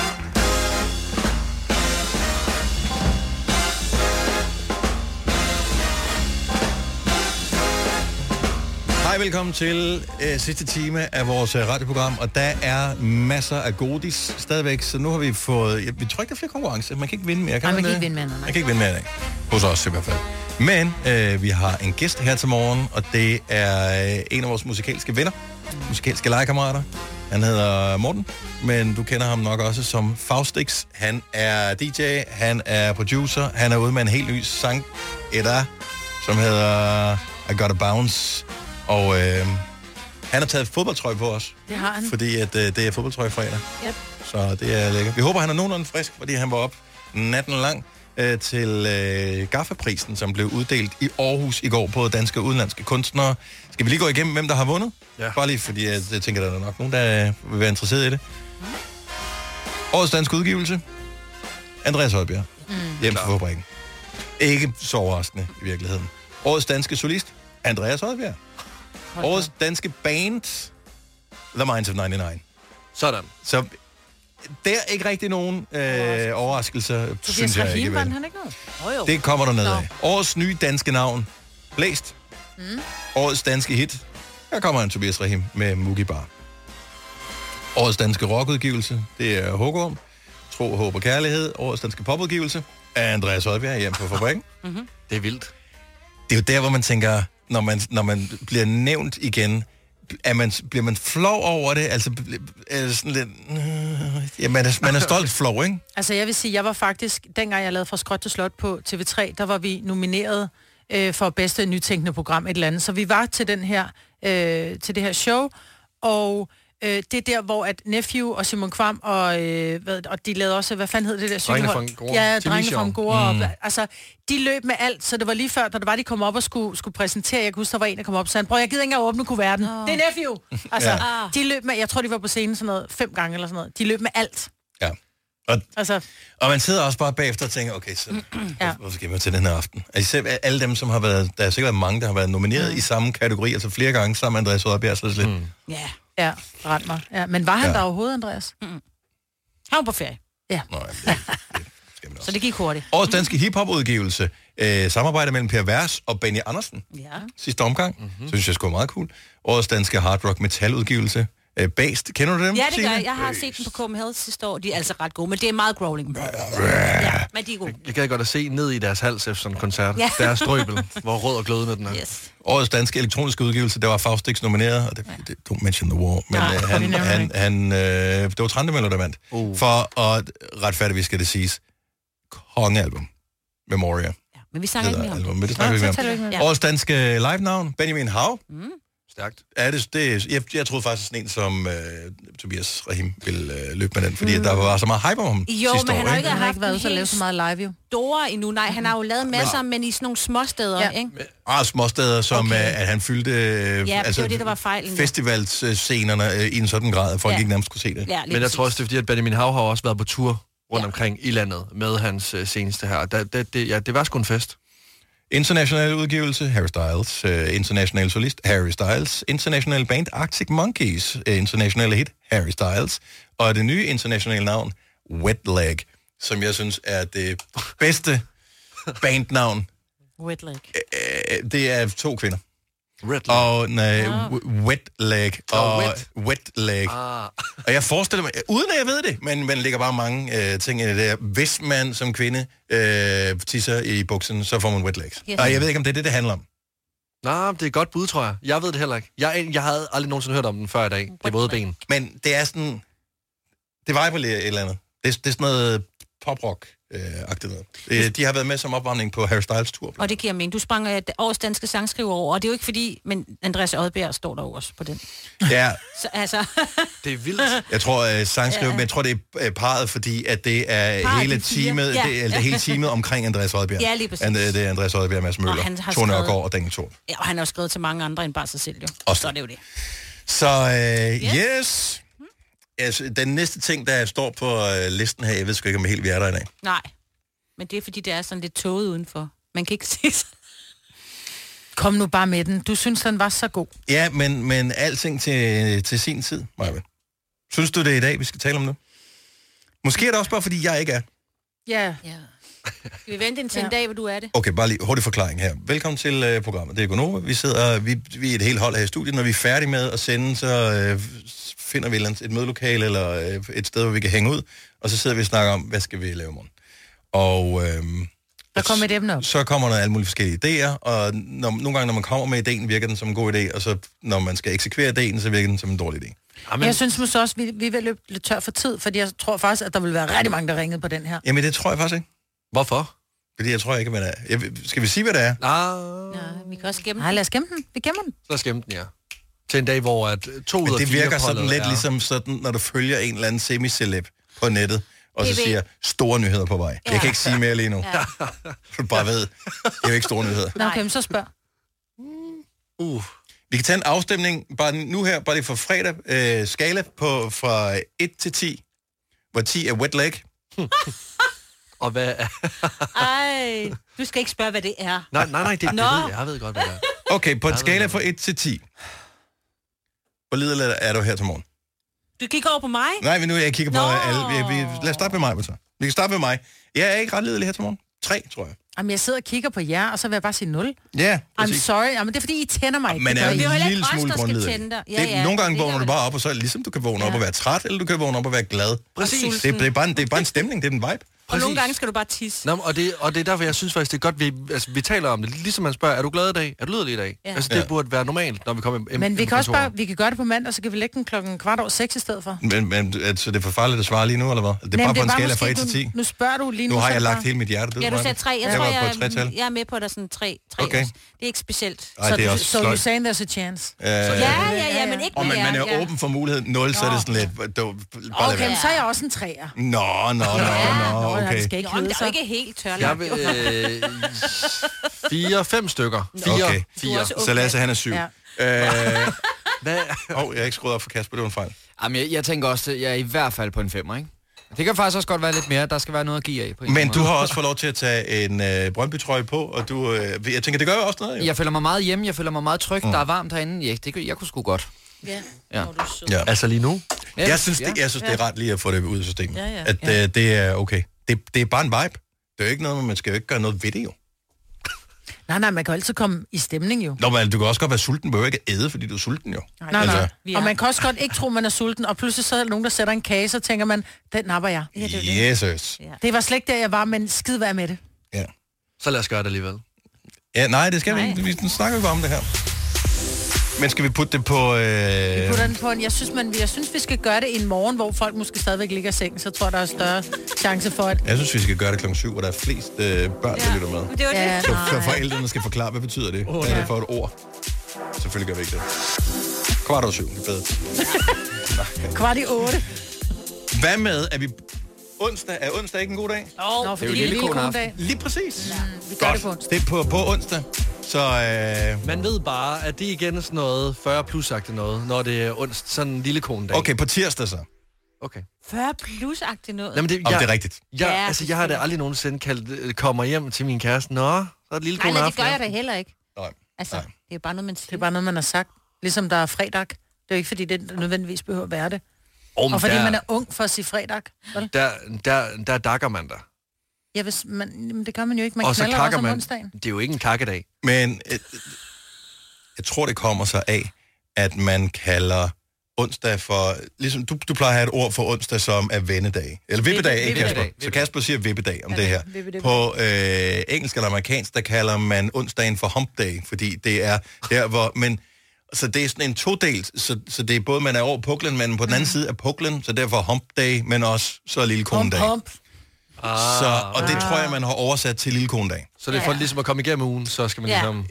Hej, velkommen til øh, sidste time af vores øh, radioprogram, og der er masser af godis stadigvæk, så nu har vi fået... Jeg, vi tror ikke, der er flere konkurrencer. Man kan ikke vinde mere, kan Nej, man kan det? ikke vinde mere, nej, nej. Man kan ikke vinde mere i dag. Hos os i hvert fald. Men øh, vi har en gæst her til morgen, og det er øh, en af vores musikalske venner, musikalske legekammerater. Han hedder Morten, men du kender ham nok også som Faustix. Han er DJ, han er producer, han er ude med en helt ny sang, Edda, som hedder I Gotta Bounce. Og øh, han har taget fodboldtrøje på os, Det har han. fordi at, øh, det er fodboldtrøje fredag. Yep. Så det er lækkert. Vi håber, han er nogenlunde frisk, fordi han var op natten lang øh, til øh, Gaffaprisen, som blev uddelt i Aarhus i går på danske og udenlandske kunstnere. Skal vi lige gå igennem, hvem der har vundet? Ja. Bare lige, fordi jeg, jeg tænker, der er nok nogen, der øh, vil være interesseret i det. Årets dansk udgivelse. Andreas Højbjerg. Mm. Hjem fra fabrikken. Ikke så overraskende i virkeligheden. Årets danske solist. Andreas Højbjerg. Årets danske band. The Minds of 99. Sådan. Så der er ikke rigtig nogen øh, overraskelser, Tobias synes jeg Rahim ikke. vandt han ikke noget? Oh, jo. Det kommer der ned Nå. af. Årets nye danske navn. Blæst. Mm. Årets danske hit. Her kommer en Tobias Rahim med Mugi Bar. Årets danske rockudgivelse. Det er Hugum. Tro, håb og kærlighed. Årets danske popudgivelse. Er Andreas Højbjerg hjem på fabrikken. Mm-hmm. Det er vildt. Det er jo der, hvor man tænker, når man, når man bliver nævnt igen, er man, bliver man flov over det? Altså, bl- er det sådan lidt... øh, Ja, man er, man er stolt flov, ikke? Altså, jeg vil sige, jeg var faktisk, dengang jeg lavede Fra Skråt til Slot på TV3, der var vi nomineret øh, for bedste nytænkende program et eller andet. Så vi var til, den her, øh, til det her show, og øh, det er der, hvor at Nephew og Simon Kvam og, øh, hvad, og de lavede også, hvad fanden hed det der? Drengene cykelhold? fra Angora. Ja, TV Drengene show. fra Angora. Mm. Mm. Altså, de løb med alt, så det var lige før, da det var, de kom op og skulle, skulle præsentere. Jeg kan huske, der var en, der kom op og sagde, bror, jeg gider ikke engang åbne kuverten. Oh. Det er Nephew! Altså, Ja. ja. de løb med, jeg tror, de var på scenen sådan noget, fem gange eller sådan noget. De løb med alt. Og, Altså, og man sidder også bare bagefter og tænker, okay, så ja. Hvorfor skal man til den her aften? Altså, selv alle dem, som har været, der har sikkert været mange, der har været nomineret mm. i samme kategori, altså flere gange sammen med Andreas Rødbjerg, så er det lidt, mm. Ja. Ja, ret mig. Ja, men var han Ja. ja. der overhovedet, Andreas? Mm. Han var på ferie. Ja. Nå, jamen, Så det gik hurtigt. Årets danske hiphop-udgivelse, øh, samarbejde mellem Per Vers og Benny Andersen Ja. sidste omgang. Mhm. Mm-hmm. Synes jeg sgu er meget cool. Årets danske hard rock metal-udgivelse, øh, Based. Kender du dem? Ja, det Signe? gør jeg. Jeg har set dem på Copenhagen sidste år. De er altså ret gode, men det er meget growling. Ja, men de er gode. Jeg kan godt at se ned i deres hals efter sådan en koncert. Ja. Ja. Deres strøbel, hvor rød og glødende den er. Yes. Årets danske elektroniske udgivelse, der var Faustix nomineret, og det, det, don't mention the war, men Nej, øh, vi han, nævner han, det han, øh, det var Trandemøller, der vandt. Uh. For at retfærdigvis skal det siges, kongealbum, Memoria. Men vi snakker ikke mere om Album, men det snakker vi så taler ikke vi ikke mere mere om. om. Årets danske live-navn, Benjamin Hav. Mm. Stærkt. Er det, det, jeg, jeg troede faktisk, sådan en som øh, Tobias Rahim ville øh, løbe med den, fordi mm. der var så meget hype om ham Jo, sidste men år, han har jo ikke, Han har haft ikke været en ude og lave helt så meget live, jo. Store endnu. Nej, han har jo lavet masser, men i sådan nogle små steder, ja. ikke? Ah, småsteder, som okay. at han fyldte øh, det var det, der var fejlen, ja. festivalscenerne øh, i en sådan grad, at folk ja. Ja. ikke nærmest kunne se det. Ja, lige Men jeg tror også, det er fordi, at Benjamin Hav har også været på tur rundt ja. omkring i landet med hans øh, seneste her. Da, da, det, ja, det var sgu en fest. International udgivelse, Harry Styles. Øh, international solist, Harry Styles. International band, Arctic Monkeys. Øh, internationale hit, Harry Styles. Og det nye internationale navn, Wet Leg, som jeg synes er det bedste bandnavn. Wet leg. Øh, det er to kvinder. Red leg. Og nej, Ah. w- wet leg. Nå, Og wet. wet leg. Ah. Og jeg forestiller mig, uden at jeg ved det, men man lægger bare mange øh, ting i det der. Hvis man som kvinde øh, tisser i buksen, så får man wet legs. Yes. Yes. Og jeg ved ikke, om det er det, det handler om. Nej, det er et godt bud, tror jeg. Jeg ved det heller ikke. Jeg, jeg havde aldrig nogensinde hørt om den før i dag. Det er våde ben. Men det er sådan... Det vibrer et eller andet. Det, er- det er sådan noget poprock-agtigt noget. Øh, De har været med som opvarmning på Harry Styles tur. Og det giver mening. Du sprang øh, årets danske sangskriver over, og det er jo ikke fordi, men Andreas Odbjerg står der jo også på den. Ja, Så, altså, det er vildt. jeg tror øh, sangskriver, Ja. men jeg tror, det er øh, parret, fordi at det er Parret, hele de fire. teamet, Ja. ja. det, eller det er hele teamet omkring Andreas Rødbjerg. Ja, lige præcis. And, øh, det er Andreas Rødbjerg, Mads Møller, han har Thor Nørgaard skrevet- og Daniel Thor. ja, og han har jo skrevet til mange andre end bare sig selv, jo. Også Så er det jo det. Så øh, yes. yes. Altså, den næste ting, der står på øh, listen her, jeg ved sgu ikke, om jeg helt vi er der i dag. Nej. Men det er fordi, det er sådan lidt tåget udenfor. Man kan ikke se sig. Kom nu bare med den. Du synes, den var så god. Ja, men, men alting til, til sin tid, Maja. Synes du, det er i dag, vi skal tale om nu? Måske er det også bare, fordi jeg ikke er. Ja. ja. Skal vi vente indtil ja. en dag, hvor du er det? Okay, bare lige hurtig forklaring her. Velkommen til øh, programmet. Det er Gonova. Vi sidder, vi, vi er et helt hold her i studiet. Når vi er færdige med at sende, så øh, finder vi et, eller andet- et mødelokale eller øh, et sted, hvor vi kan hænge ud. Og så sidder vi og snakker om, hvad skal vi lave i morgen. Og øh, Der kom et emne op. så kommer der alle mulige forskellige idéer. Og når, nogle gange, når man kommer med ideen, virker den som en god idé. Og så når man skal eksekvere ideen, så virker den som en dårlig idé. Amen. Jeg synes måske også, vi, vi vil løbe lidt tør for tid, fordi jeg tror faktisk, at der vil være rigtig mange, der ringede på den her. Jamen, det tror jeg faktisk ikke. Hvorfor? Fordi jeg tror ikke, hvad det er. Jeg, skal vi sige, hvad det er? Ah. Nej, vi kan også gemme Nej, lad os gemme den. Vi gemmer den. Så skæmte den, ja. Til en dag, hvor at øh, to ud Men af det fire virker sådan holdet lidt er- ligesom sådan, når du følger en eller anden semiceleb på nettet, og så PV. siger, store nyheder på vej. Jeg kan ikke sige mere lige nu. Ja. Du bare ved, det er jo ikke store nyheder. Nå, okay, men så spørg. Uh. Vi kan tage en afstemning bare nu her, bare lige for fredag, øh, skala på fra 1 til 10, hvor 10 er wet leg. og hvad er... Ej, du skal ikke spørge, hvad det er. Nej, nej, nej, det, det Nå. ved jeg. Jeg ved godt, hvad det er. Okay, på en Jeg skala fra 1 til 10. Hvor liderlig er du her til morgen? Du kigger over på mig? Nej, men nu jeg kigger på alle. Vi, vi, lad os starte med mig, Britta. Vi kan starte med mig. Jeg er ikke ret lidelig her til morgen. 3, tror jeg. Jamen, jeg sidder og kigger på jer, og så vil jeg bare sige 0. Ja, I'm sorry. Jamen, det er fordi, I tænder mig. ikke. Man Det er gør jo I. en lille smule grundledig. Ja, det, ja, nogle gange det er vågner du vel- bare op, og så er det ligesom, du kan vågne op og være træt, eller du kan vågne op og være glad. Præcis. Det, det, er, bare en, det er bare en stemning, det er en vibe. Og nogle gange skal du bare tisse. Nå, men og, det, og det er derfor, jeg synes faktisk, det er godt, vi, altså, vi taler om det. Ligesom man spørger, er du glad i dag? Er du lyderlig i dag? Ja. Ja. Altså, det Ja. ja. burde være normalt, når vi kommer i- i Men vi i- kan også personer. bare, vi kan gøre det på mandag, så kan vi lægge den klokken kvart over seks i stedet for. Men, men altså, det er for farligt at svare lige nu, eller hvad? Det er bare Nej, men på en skala måske, fra 1 til 10. Du, nu spørger du lige nu. Nu har så jeg bare- lagt hele mit hjerte død. Ja, du sagde tre. Jeg, tror, var på et jeg, tretal. jeg, jeg er med på, at der er sådan tre. tre Okay. okay. Det er ikke specielt. Ej, det er også så du sløjt. saying there's a chance. Øh, Ja, ja, ja, ja, men ikke Og man, med man jer, er ja. åben for muligheden 0, så er det sådan lidt... Du, bare lad Okay, men være. så er jeg også en træer. Nå, nå, nå, nå, Det okay. skal ikke Nå, men hedde der er jo sig. ikke helt tørlagt. Jeg vil, øh, fire, fem stykker. Fire, Okay, fire. så Lasse, han er syv. Ja. Øh, Åh, jeg har ikke skruet op for Kasper, det var en fejl. Jamen, jeg, jeg tænker også, at jeg er i hvert fald på en femmer, ikke? Det kan faktisk også godt være lidt mere. Der skal være noget at give af på en Men du har også fået lov til at tage en øh, Brøndby-trøje på, og du, øh, jeg tænker, det gør jo også noget, jo. Jeg føler mig meget hjemme, jeg føler mig meget tryg, mm. der er varmt herinde. Ja, det, kunne- jeg kunne sgu godt. Ja. ja. Ja. Altså lige nu? Ja, Jeg synes, det, ja. jeg synes, det er Ja. ret lige at få det ud af systemet. Ja, ja. At Ja. øh, det er okay. Det, det er bare en vibe. Det er jo ikke noget, man skal jo ikke gøre noget ved det, jo. Nej, nej, man kan jo altid komme i stemning jo. Nå, men du kan også godt være sulten. Du behøver ikke æde, fordi du er sulten, jo. Altså, Nej, nej. nej. Og man kan også godt ikke tro, man er sulten, og pludselig så er der nogen, der sætter en kage, så tænker man, den napper jeg. Ja, det, Jesus. det var slet ikke der, jeg var, men skid være med det. Så lad os gøre det alligevel. Ja, nej, det skal vi ikke. Vi snakker jo bare om det her. Men skal vi putte det på... Øh... Putter den på en, jeg, synes, man, jeg synes, vi skal gøre det en morgen, hvor folk måske stadigvæk ligger i sengen, så tror jeg, der er større chance for, at... Jeg synes, vi skal gøre det klokken 7, hvor der er flest øh, børn, der lytter med. det var det. Ja, så, så nej. forældrene skal forklare, hvad betyder det? Hvad er det for et ord? Selvfølgelig gør vi ikke det. Kvart over syv, det er bedre. Kvart i otte. Hvad med, at vi... Onsdag, er onsdag ikke en god dag? Oh, Nå, fordi det er jo lille lillekongeaften. Lige præcis. Ja, vi gør det på Godt. onsdag. Det er på, på onsdag. Så øh... Man ved bare, at det er igen sådan noget 40 plus noget, når det er onsdag, sådan en lille konedag. Okay, på tirsdag så. Okay. 40 plus-agtigt noget. Jamen, Om det er rigtigt. Jeg, Ja, ja, altså, jeg har da aldrig nogensinde kaldt, øh, kommer hjem til min kæreste. Nå, så er det lille Nej, kone nej, det gør jeg da heller ikke. Nej. Altså, det er jo bare noget, man siger. Det er bare noget, man har sagt. Ligesom der er fredag. Det er jo ikke, fordi det nødvendigvis behøver at være det. Åh, men og fordi der- man er ung for at sige fredag. Vel? Der, der, der dakker man dig. Ja, hvis man, men det gør man jo ikke. Man og så knalder kakker også om man. onsdagen. Det er jo ikke en kakkedag. Men øh, jeg tror, det kommer sig af, at man kalder onsdag for... Ligesom, du, du plejer at have et ord for onsdag, som er vennedag. Eller vippedag, ikke vippedag, Kasper? Så vippedag. Kasper siger vippedag om Ja, det her. vippedag. På øh, engelsk eller amerikansk, der kalder man onsdagen for hump day, fordi det er der, hvor... Men, så det er sådan en todelt, så, så det er både, man er over puklen, men på den anden side er puklen, så derfor hump day, men også så lille konedag. Hump. Så, og det tror jeg, man har oversat til lille konedag. Så det er for ligesom at komme igennem ugen, så skal man Ja. ligesom...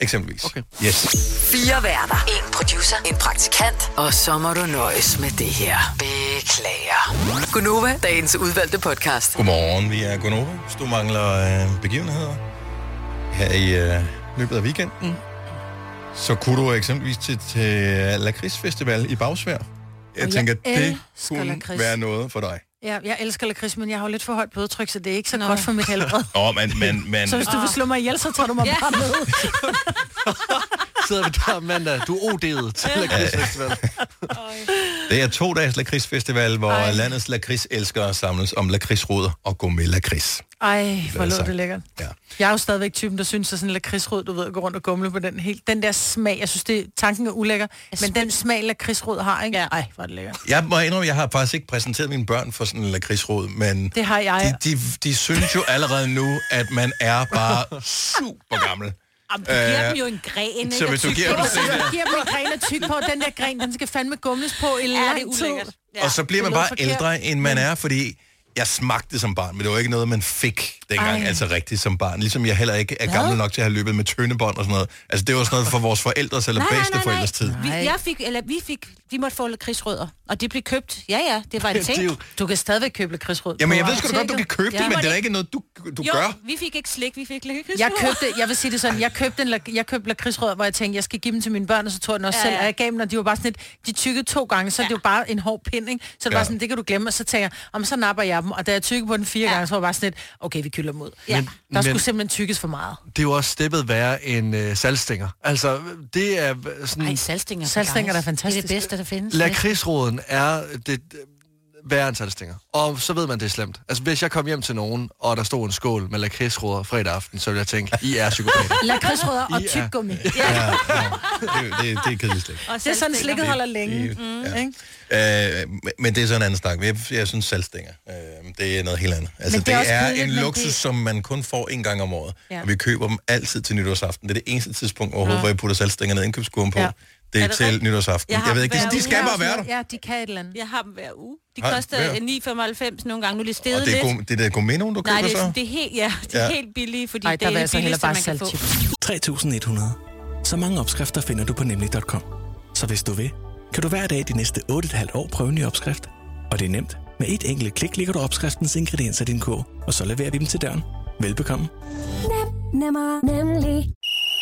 Eksempelvis. Okay. Yes. Fire værter. En producer. En praktikant. Og så må du nøjes med det her. Beklager. Gunova, dagens udvalgte podcast. Godmorgen, vi er Gunova. Hvis du mangler øh, begivenheder her i øh, løbet af Mm. weekenden, så kunne du eksempelvis til, til Lakrids Festival i Bagsvær. Jeg Og jeg tænker, det elsker kunne lakrids. være noget for dig. Ja, jeg elsker lakrids, men jeg har jo lidt for højt blodtryk, så det er ikke så Nå. godt for mit helbred. Åh, oh, men, men, men... Så hvis du vil slå mig ihjel, så tager du mig Ja. bare med. Sidder vi der mandag, du er OD'et til lakridsfestival. Det er to dages lakridsfestival, hvor Ej. landets lakridselskere samles om lakridsruder og gå med lakrids. Ej, er hvor lå sagt. det lækkert. Ja. Jeg er jo stadigvæk typen, der synes, at sådan en lakridsrød, du ved, at gå rundt og gumle på den helt. Den der smag, jeg synes, det, tanken er ulækker, men den smag, lakridsrød har, ikke? Ja. Ej, hvor er det lækkert. Jeg må indrømme, jeg har faktisk ikke præsenteret mine børn for sådan en lakridsrod, men Det har jeg. de, de, de synes jo allerede nu, at man er bare super gammel. Jamen, du giver Øh, dem jo en gren, ikke? så hvis du Og tyk giver på. dem sådan Jeg giver dem en gren og tyk på, den der gren, den skal fandme gumles på i lang det er tid. ulækkert. Ja, og så bliver det man lød bare forkert. ældre, end man er, fordi jeg smagte det som barn, men det var ikke noget, man fik dengang, Ej. Ej. altså rigtigt som barn. Ligesom jeg heller ikke er Hvad? gammel nok til at have løbet med tøndebånd og sådan noget. Altså det var sådan noget for vores forældres eller Nej, nej, nej, bedsteforældres tid. Vi, jeg fik, eller vi fik, vi måtte få lakridsrødder, og de blev købt. Ja, ja, det var en Det er jo- ting. Du kan stadigvæk købe lakridsrød. Jamen jeg ved sgu da godt, du kan købe ja. det, men det er da måtte ikke noget, du, du jo, gør. vi fik ikke slik, vi fik lakridsrødder. Jeg købte, jeg vil sige det sådan, jeg købte, en, lak- jeg købte lakridsrød, hvor jeg tænkte, jeg skal give dem til mine børn, og så tog jeg den også Ja, ja, selv, ja. og jeg gav dem, og de var bare sådan lidt, de tykkede to gange, så ja. det var bare en hård pind, ikke? Så det ja. var Ja. sådan, det kan du glemme, og så tænker jeg, om så napper jeg dem, og da jeg tykkede på den fire ja. gange, så var jeg bare sådan lidt, okay, vi kylder dem ud. Ja. Men, Men- men- der skulle simpelthen tykkes for meget. Det er jo også steppet værre end øh, salgstænger. Altså, det er øh, sådan... Ej, salgstænger. Salgstænger der er fantastisk. Det er det bedste, der findes. Lakridsråden er det øh, værre end salgstænger. Og så ved man, det er slemt. Altså, hvis jeg kom hjem til nogen, og der stod en skål med lakridsråder fredag aften, så ville jeg tænke, I er psykopater. Lakridsrødder og I er- tyggegummi. Ja. Det, det, det er kedeligt slik. Det er sådan, slikket holder længe. Mm, ikke? Øh, men det er sådan en anden snak. Jeg, jeg synes salgstænger, øh, det er noget helt andet. Altså, Men det det er, er det også er kedeligt, en men luksus, det- det... som man kun får en gang om året. Ja. Ja. Og vi køber dem altid til nytårsaften. Det er det eneste tidspunkt overhovedet, Ja. ja. hvor jeg putter salgstænger ned i indkøbskurven på. Ja. Ja. Det er, Er er det det til rigtigt? nytårsaften. Jeg, jeg ved ikke, dem de, hver de skal uge. bare være der. Ja, de kan et eller andet. Jeg har dem hver uge. De Har- koster hver? 9,95 nogle gange. Nu er det steget Og det er, lidt. go- det er gourmet nogen, du køber Nej, det er, så? det er helt, ja, det er Ja. helt billigt, fordi Ej, det der er vil jeg det så hellere billigste, bare man kan få. saltchips. 3.100. Så mange opskrifter finder du på nemlig.com. Så hvis du vil, kan du hver dag de næste 8,5 år prøve en ny opskrift. Og det er nemt. Med et enkelt klik ligger du opskriftens ingredienser i din kog, og så leverer vi dem til døren. Velbekomme. Nem, nemmer, nemlig.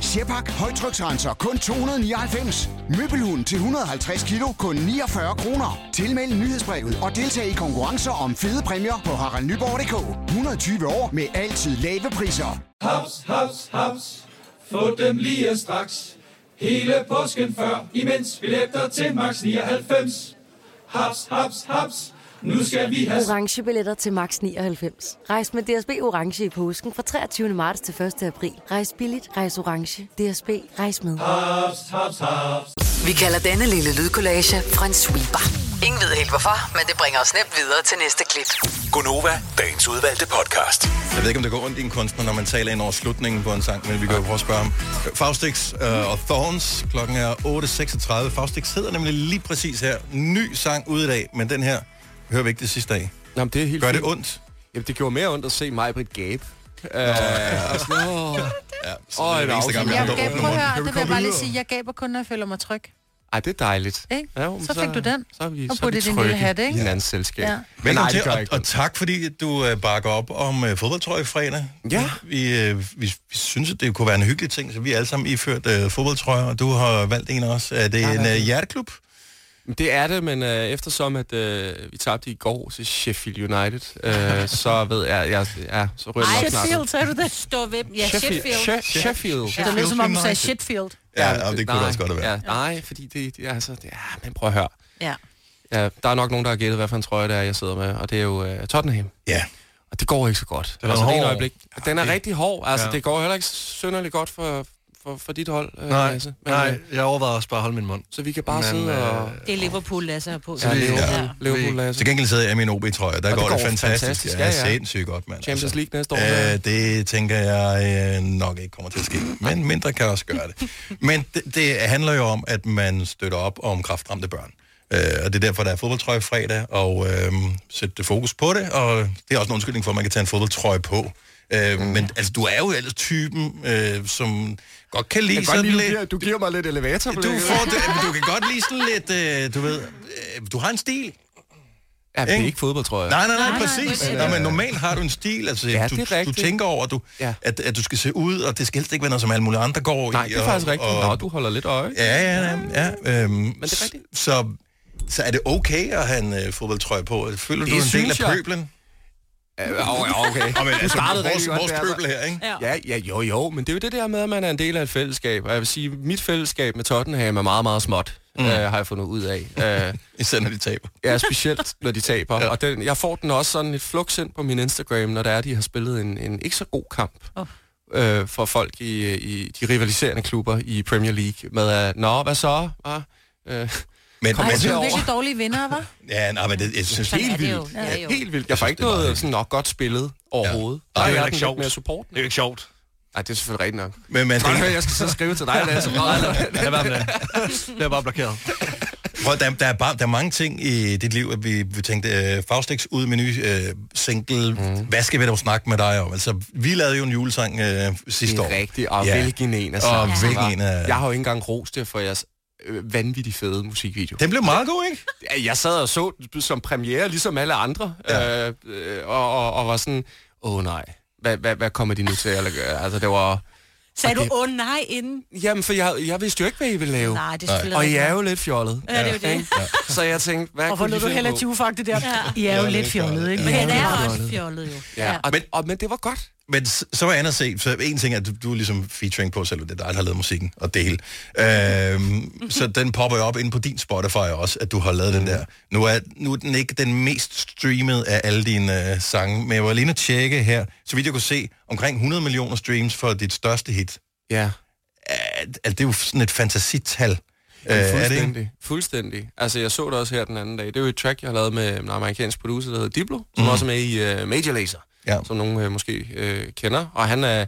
Sjehpak. Højtryksrenser. Kun 299. Møbelhund til 150 kilo. Kun 49 kroner. Tilmeld nyhedsbrevet og deltag i konkurrencer om fede præmier på haraldnyborg.dk. 120 år med altid lave priser. Haps, haps, haps. Få dem lige straks. Hele påsken før, imens billetter til max 99. Haps, haps, haps. Nu skal vi have Orange billetter til max 99. Rejs med DSB Orange i påsken fra 23. marts til 1. april. Rejs billigt, rejs orange. DSB, rejs med. haps, haps, haps. Vi kalder denne lille lydkollage en sweeper. Ingen ved helt hvorfor, men det bringer os nemt videre til næste klip. Gunova, dagens udvalgte podcast. Jeg ved ikke, om det går ondt i en kunstner, når man taler ind over slutningen på en sang, men vi kan jo prøve at spørge ham. Faustix øh, og Thorns, klokken er 8.36. Faustix hedder nemlig lige præcis her. Ny sang ude i dag, men den her hører vi ikke det sidste dag. Nå, men det er helt Gør det fint. ondt? Jamen, det gjorde mere ondt at se mig på et gabe. Øh, og sådan, åh. så det er Åh, en den eneste gang, vi afsnit. Kan Jeg du gav, åbne prøv at munden? høre, Kan vi det vil jeg komme bare lige videre? sige, jeg gaber kun, når jeg føler mig tryg. Ej, det er dejligt. Ikke? Ja, men Så fik du den, Så er vi, og så er vi puttede din trygge lille hat, ikke? I hinandens selskab. Ja. Ja. Velkommen til, og, og tak fordi du øh, bakker op om øh, fodboldtrøje fredag. Ja. Vi, øh, vi, vi synes, at det kunne være en hyggelig ting, så vi er alle sammen iført øh, fodboldtrøjer, og du har valgt en også. Er det Jeg har en øh, valgt en. hjerteklub? Det er det, men øh, eftersom at øh, vi tabte i går til Sheffield United, øh, så ved jeg, jeg, ja, så ryger det nok snart. Sheffield, sagde du det? Stå ved. Ja, Sheffield. Sheffield. She- Sheffield. Det lød som om, du sagde Shitfield. Ja, og det kunne det også godt være. Ja, nej, fordi det, det altså, det, ja, men prøv at høre. Ja. Ja, der er nok nogen, der har gættet, hvad for en trøje det er, jeg sidder med, og det er jo øh, Tottenham. Ja. Og det går ikke så godt. Den Den er er altså, det ene hård. øjeblik. Den er det- rigtig hård. Altså, Ja. ja. det går heller ikke synderligt godt for, for, for dit hold, øh, Nej, Lasse. nej, øh, jeg overvejede også bare at holde min mund. Så vi kan bare Men, sidde øh, og... Det er Liverpool, Lasse har på. Ja, det er Liverpool. Liverpool, Lasse. Til gengæld sidder jeg i min OB-trøje, der Og går, det fantastisk. fantastisk. Ja, ja. sindssygt godt, mand. Champions League næste år. Øh, det tænker jeg øh, nok ikke kommer til at ske. Men mindre kan også gøre det. Men det, det handler jo om, at man støtter op om kraftramte børn. Øh, og det er derfor, der er fodboldtrøje fredag, og øh, sætte det fokus på det. Og det er også en undskyldning for, at man kan tage en fodboldtrøje på. Øh, Mm. Men altså, du er jo ellers typen, øh, som godt kan lide Jeg kan godt sådan lide, du lidt... giver- du giver mig lidt elevator Du, får det, men du kan godt lide sådan lidt, øh, du ved... Øh, du har en stil. Ja, det er ikke fodbold, tror jeg. Nej, nej, Nej, nej, nej, præcis. men, Nej, øh, men normalt har du en stil, altså Ja, ja, du, det er du rigtigt. tænker over, at du, ja. at, at du skal se ud, og det skal helst ikke være noget, som alle mulige andre går Nej, i. det er og, faktisk rigtigt. Og, Nå, du holder lidt øje. Ja, ja, ja. ja øhm, Men det er rigtigt. Så, så er det okay at have en øh, fodboldtrøje på? Føler Det du en del synes af jeg. pøblen? Ja, okay, okay. Og men, Du altså, startede vores, rigtig godt vores der, pøbel altså. her, ikke? Ja, ja, jo, jo, men det er jo det der med, at man er en del af et fællesskab. Og jeg vil sige, at mit fællesskab med Tottenham er meget, meget småt, mm. øh, har jeg fundet ud af. Øh, Især når de taber. Ja, specielt når de taber. ja. Og den, jeg får den også sådan et flux ind på min Instagram, når der er, de har spillet en, en ikke så god kamp. Oh. Øh, for folk i, i de rivaliserende klubber i Premier League med, at, nå, hvad så? Ah, øh, men, Ej, så er du virkelig dårlige vinder, hva'? Ja, nej, men det, jeg synes, Sådan er det jo. Ja, jo. Helt vildt. Jeg får ikke noget sådan nok godt spillet overhovedet. Ja. Der Nej, er det er den ikke lidt sjovt. Mere support. Det er jo ikke sjovt. Nej, det er selvfølgelig rigtigt nok. Men man Godt, tænker- jeg skal så skrive til dig, Lasse. Lad være med det. Det er bare blokeret. Prøv, der, der, er bare, der er mange ting i dit liv, at vi, vi tænkte, øh, Faustix ud med ny øh, single, Mhm. mm. hvad skal vi dog snakke med dig om? Altså, vi lavede jo en julesang øh, sidste Det år. er rigtigt, og Ja. hvilken en af Og sangene hvilken var. en af... Jeg har jo ikke engang rost det for jeres øh, vanvittigt fede musikvideo. Den blev meget god, ikke? Ja, Jeg sad og så den som premiere, ligesom alle andre, ja. øh, øh, og, og, og var sådan, åh oh, nej, hvad, hvad, hvad kommer de nu til at gøre? Altså, det var... Sagde du, Okay. åh nej, inden? Jamen, for jeg, jeg vidste jo ikke, hvad I ville lave. Nej, det er selvfølgelig Og I rigtigt er nok. jo lidt fjollet. Ja, det er jo det. Ikke? Så jeg tænkte, hvad Og hvor kunne de lød du finde heller på? tjuvfagtig der? Ja. I er jo Ja, lidt lidt fjollede, ikke? Men han er Ja. også fjollet, jo. Ja, og, men, og, men det var godt. Men s- så var andet set, så en ting er, at du, du er ligesom featuring på, selvom det er dig, der har lavet musikken og det hele. Øhm, så den popper jo op inde på din Spotify også, at du har lavet den der. Nu er, nu er den ikke den mest streamede af alle dine øh, sange, men jeg var lige inde at tjekke her, så vidt jeg kunne se, omkring 100 millioner streams for dit største hit. Ja. At, at det er jo sådan et fantasital. Øh, Ja, er det fuldstændig. ikke? fuldstændig. Altså, jeg så det også her den anden dag. Det er jo et track, jeg har lavet med en amerikansk producer, der hedder Diplo, som Mhm. også er med i uh, Major Lazer, ja. som nogen uh, måske uh, kender. Og han er...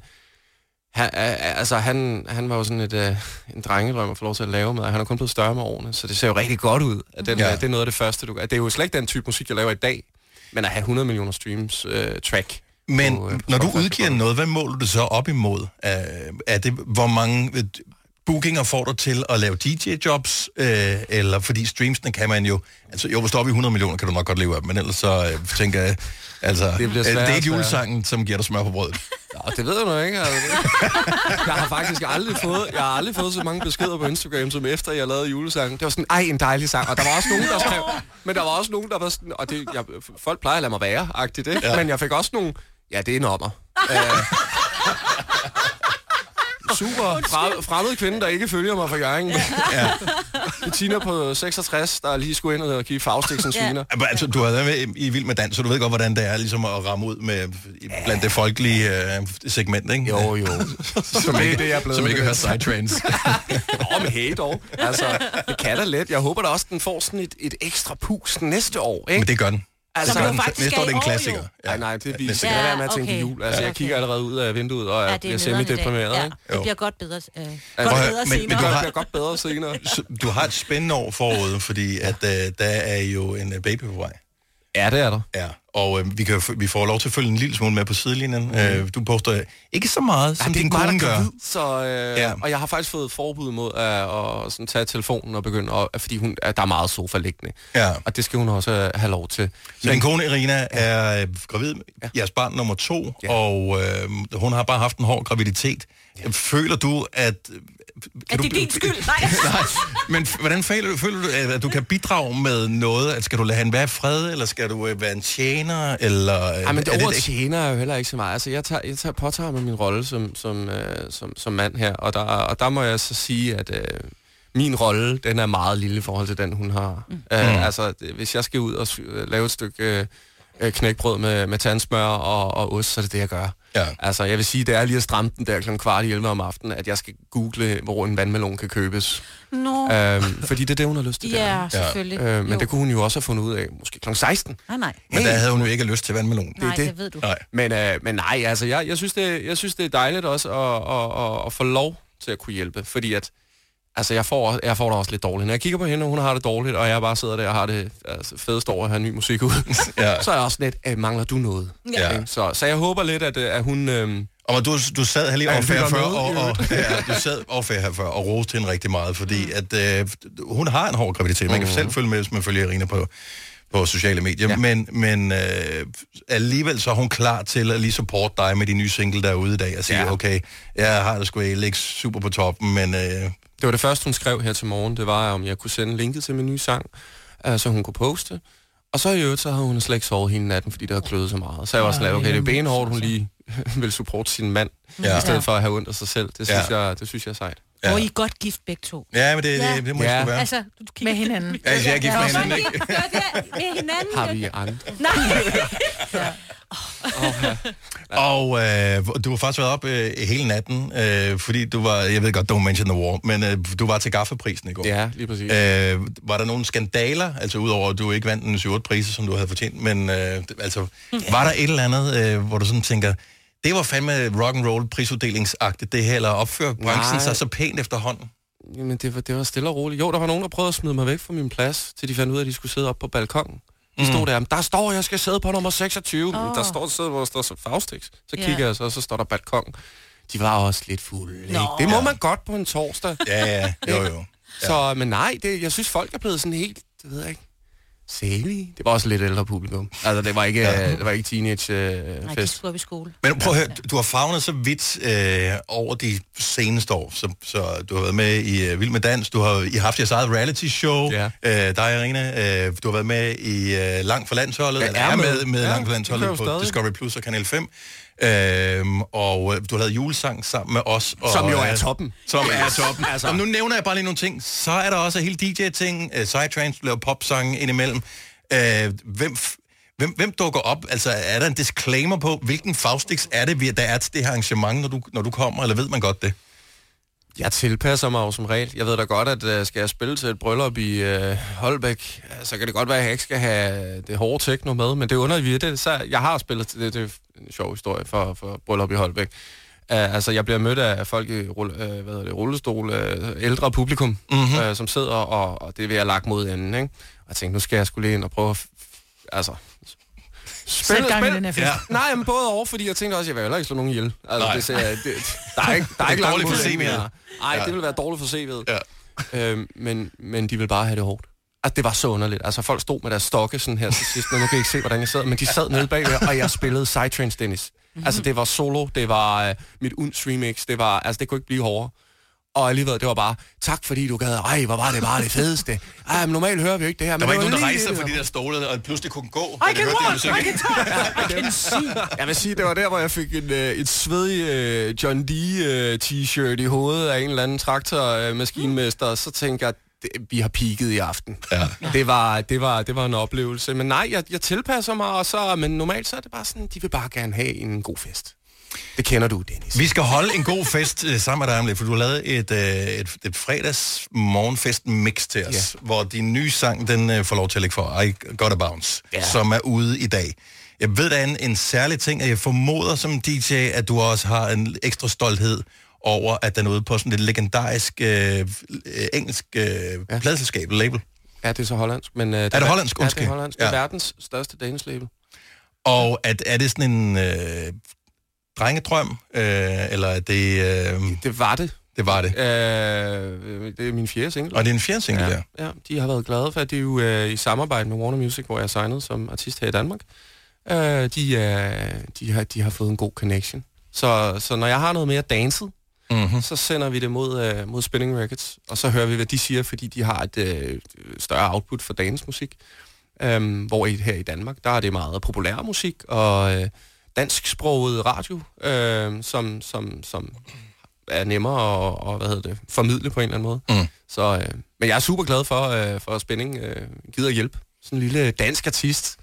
Han, er- er- altså, han, han var jo sådan et, øh, en drengedrøm at få lov til at lave med, og han er kun blevet større med årene, så det ser jo rigtig godt ud. At den, Ja. ja. det er noget af det første, du gør. Det er jo slet ikke den type musik, jeg laver i dag, men at have 100 millioner streams øh, track. Men på, øh, når du Spotify, det er udgiver noget, hvad måler du så op imod? Øh, Er det, hvor mange øh, bookinger får du til at lave DJ-jobs? Øh, eller fordi streamsene kan man jo... Altså, jo, hvis du er oppe i 100 millioner, kan du nok godt leve af dem, men ellers så øh, tænker jeg... Altså, det, bliver øh, det sværere er og ikke sværere. julesangen, som giver dig smør på brødet. Og det ved jeg nu ikke. Altså. Jeg har faktisk aldrig fået, jeg har aldrig fået så mange beskeder på Instagram, som efter jeg lavede julesangen. Det var sådan, ej, en dejlig sang. Og der var også nogen, der skrev, men der var også nogen, der var sådan, og det, jeg, folk plejer at lade mig være, agtigt det. Ja. Men jeg fik også nogle, ja, det er en ommer. Øh, super fra, fremmed kvinde, der ikke følger mig fra Jørgen. Ja. Bettina på 66, der lige skulle ind og give Faustix en sviner. Men Altså, du har været med i Vild med Dans, så du ved godt, hvordan det er ligesom at ramme ud med, i- blandt det folkelige øh, segment, ikke? Jo, jo. som Det er ikke, det, jeg er blevet som med ikke det. hører sidetrains. Åh, men hey dog. Altså, det kan da let. Jeg håber da også, den får sådan et, et ekstra pus næste år, ikke? Men det gør den. Altså, Det gør den. Næste år er det en klassiker. Ja. Nej, nej, det næste er vildt. år. Ja, være med at Ja, tænke okay. okay. jul. Altså, Ja. jeg kigger allerede ud af vinduet og Ja, jeg det er bliver nederen i dag. semi-deprimeret. Ja, ikke? det Jo. bliver godt bedre, øh, godt prøv at høre, bedre men- senere. men du Det har- bliver godt bedre senere. Så du har et spændende år forude, fordi at, øh, der er jo en øh, baby på vej. Ja, det er der. Ja, og øh, vi, kan, jo f- vi får lov til at følge en lille smule med på sidelinjen. Mm. Øh, du poster ikke så meget, som Ja, det er din ikke mig, kone der gør. gør. Så, øh, Ja. ja. Og jeg har faktisk fået forbud mod at, at sådan, tage telefonen og begynde, at, fordi hun, at der er meget sofa liggende. Ja. Og det skal hun også øh, have lov til. Så din kone Irina ja. er øh, gravid, ja. jeres barn nummer to, ja. og øh, hun har bare haft en hård graviditet. Ja. Føler du, at øh, Kan du- Nej, men f- hvordan føler du, føler du, øh, at at du kan bidrage med noget? At skal du lade han være i fred, eller skal du øh, være en tjener? Eller, øh, Ej, men er det et ordet ek- tjener er jo heller ikke så meget. Altså, jeg, tager, jeg tager, påtager mig min rolle som, som, øh, som, som mand her, og der, og der må jeg så sige, at øh, min rolle, den er meget lille i forhold til den, hun har. Mm. Mm. Øh, altså, det- hvis jeg skal ud og sy- øh, lave et stykke øh, øh, knækbrød med, med tandsmør og, og ost, så er det det, jeg gør. Ja. Altså, jeg vil sige, det er lige at stramme den der kl. kvart i 11 om aftenen, at jeg skal google, hvor en vandmelon kan købes. Nå. Øhm, fordi det er det, hun har lyst til. Ja, der. selvfølgelig. Øh, men Jo. det kunne hun jo også have fundet ud af, måske kl. 16. Nej, ah, nej. Men der havde hun jo ikke lyst til vandmelon. Det er Nej, det ved du. Nej. Men, øh, men nej, altså, jeg, jeg, synes, det, jeg synes, det er dejligt også at, at, at, at få lov til at kunne hjælpe, fordi at, altså, jeg får, jeg får det også lidt dårligt. Når jeg kigger på hende, og hun har det dårligt, og jeg bare sidder der og har det altså, fedest over at have ny musik ud, Ja. så er jeg også lidt, øh, mangler du noget? Ja. Ikke? Så, så jeg håber lidt, at, øh, at hun... Øh, og du, du sad her lige over før, før og, og, ja. ja, du sad over før, her før og roste hende rigtig meget, fordi at, øh, hun har en hård graviditet. Man kan selv følge med, hvis man følger Irina på, på sociale medier. Mm. Ja. Men, men øh, alligevel så er hun klar til at lige supporte dig med de nye single, der er ude i dag, og sige, ja. okay, jeg har det sgu egentlig ikke super på toppen, men... Øh, Det var det første, hun skrev her til morgen, det var, om jeg kunne sende linket til min nye sang, øh, så hun kunne poste. Og så i øvrigt, så havde hun slet ikke sovet hele natten, fordi det havde kløet så meget. Så jeg var sådan lidt, okay, det er benhårdt, hun lige vil supporte sin mand, Ja. ja. i stedet for at have ondt af sig selv. Det synes, ja. jeg, det synes jeg er sejt. Ja. Og I er godt gift begge to. Ja, men det- det- det må I sgu være. Altså, du kigger... Med hinanden. Altså, jeg er gift med hinanden, ikke? Med hinanden. Har vi andre? Nej. Og øh, du har faktisk været op øh, hele natten, øh, fordi du var, jeg ved godt, don't mention the war, men øh, du var til gaffeprisen i går. Ja, lige præcis. Øh, var der nogle skandaler, altså udover at du ikke vandt en 7 priser, som du havde fortjent, men øh, d- altså, var der et eller andet, øh, hvor du sådan tænker, det var fandme rock and roll prisuddelingsagtigt det her, eller opfører branchen Nej. sig så pænt efterhånden? Jamen, det var, det var stille og roligt. Jo, der var nogen, der prøvede at smide mig væk fra min plads, til de fandt ud af, at de skulle sidde op på balkongen. De stod der, "Men der står, jeg skal sidde på nummer 26. Oh. Åh. Der står et sted, hvor der står så Faustix. Så Ja. kigger jeg så, og så står der balkon. De var også lidt fulde, ikke? Nå. Det må man godt på en torsdag. Ja, ja, jo, jo. Ja. Så, men nej, det, jeg synes, folk er blevet sådan helt, det ved jeg ikke, sælige. Det var også lidt ældre publikum. Altså, det var ikke, Ja. ja. det var ikke øh, teenage-fest. Nej, de skulle op i skole. Men prøv at høre, du- du har fagnet så vidt øh, over de seneste år, så, så du har været med i øh, Vild med Dans, du har, I har haft jeres eget reality show, ja. øh, dig Irene, øh, du har været med i øh, Langt for Landsholdet, Jeg eller er er med, med. med Ja, ja, Langt for det Landsholdet kører på jo stadig. Discovery Plus og Kanal 5, øh, og øh, du har lavet julesang sammen med os. Og, Som jo er øh, toppen. Som er Yes. toppen. altså. Altså. Om nu nævner jeg bare lige nogle ting, så er der også hele DJ-ting, øh, Psytrance, du laver popsange indimellem. Øh, hvem, f- hvem, hvem dukker op? Altså, er der en disclaimer på, hvilken faustix er det, vi- der er til det her arrangement, når du, når du kommer, eller ved man godt det? Jeg tilpasser mig jo som regel. Jeg ved da godt, at øh, skal jeg spille til et bryllup i øh, Holbæk, øh, så kan det godt være, at jeg ikke skal have øh, det hårde techno med, men det underlige ved det, så jeg har spillet til det, det er en sjov historie for, for bryllup i Holbæk. Uh, altså, jeg bliver mødt af folk i rulle, uh, hvad hedder det, rullestol, uh, ældre publikum, Mhm. mm-hmm. uh, som sidder, og, og det vil jeg lagt mod enden, ikke? Og jeg tænkte, nu skal jeg skulle lige ind og prøve at... f- f- altså, Sæt gang i den her fest. Ja. Nej, men både over, fordi jeg tænkte også, jeg vil heller ikke slå nogen ihjel. Altså, Nej. det ser, jeg- det, der er ikke, der er Det er ikke langt dårligt for mod det, CV'et. ja. Ej, Ja. det ville være dårligt for CV'et. Ja. Øhm, men, men de ville bare have det hårdt. Altså, det var så underligt. Altså, folk stod med deres stokke sådan her til sidst, men nu kan I ikke se, hvordan jeg sad, men de sad nede bagved, og jeg spillede Psytrance Dennis. Altså, det var solo, det var øh, mit Unds remix, det var, altså, det kunne ikke blive hårdere. Og alligevel, det var bare, tak fordi du gad, ej, hvor var det bare det fedeste. Ej, men normalt hører vi jo ikke det her. Der men var det ikke nogen, der lige rejste sig det, fra der- de der stole, og pludselig kunne gå. I can walk, I can talk, I can see. Jeg vil sige, det var der, hvor jeg fik en, øh, et svedig øh, John Dee-t-shirt i hovedet af en eller anden traktormaskinmester, og så tænkte jeg, "Det- vi har peaked i aften. Ja. Det, var, det, var, det var en oplevelse. Men nej, jeg, jeg tilpasser mig, og så, men normalt så er det bare sådan, de vil bare gerne have en god fest. Det kender du, Dennis. Vi skal holde en god fest øh, sammen med dig om lidt, for du har lavet et, øh, et, et fredags morgenfest mix til os, ja. hvor din nye sang, den øh, får lov til at ligge for, I Got A Bounce, ja. som er ude i dag. Jeg ved, der er en, en særlig ting, og jeg formoder som DJ, at du også har en ekstra stolthed over, at den er ude på sådan et legendarisk øh, øh, engelsk øh, ja. pladselskab, label. Ja, det er så hollandsk. Men, øh, det er det hollandsk? Ja, det Undskyld. er hollandsk. Ja. Verdens største Danish label. Og at, er det sådan en øh, drengedrøm, øh, eller er det... Øh, det var det. Det var det. Øh, det er min fjerde single. Og det er en fjerde single, ja. Ja, de har været glade for, at de er jo øh, i samarbejde med Warner Music, hvor jeg er signet som artist her i Danmark. Øh, de, øh, de, har, de har fået en god connection. Så, så når jeg har noget mere danset, Mhm. Mm. Mm-hmm. Så sender vi det mod, øh, mod Spinning Records, og så hører vi, hvad de siger, fordi de har et øh, større output for dagens musik. Øhm, hvor i, her i Danmark, der er det meget populær musik og øh, dansksproget radio, øh, som, som, som er nemmere at og, hvad hedder det, formidle på en eller anden måde. Mm. Så, øh, men jeg er super glad for, øh, for at Spinning øh, gider at hjælpe. Sådan en lille dansk artist.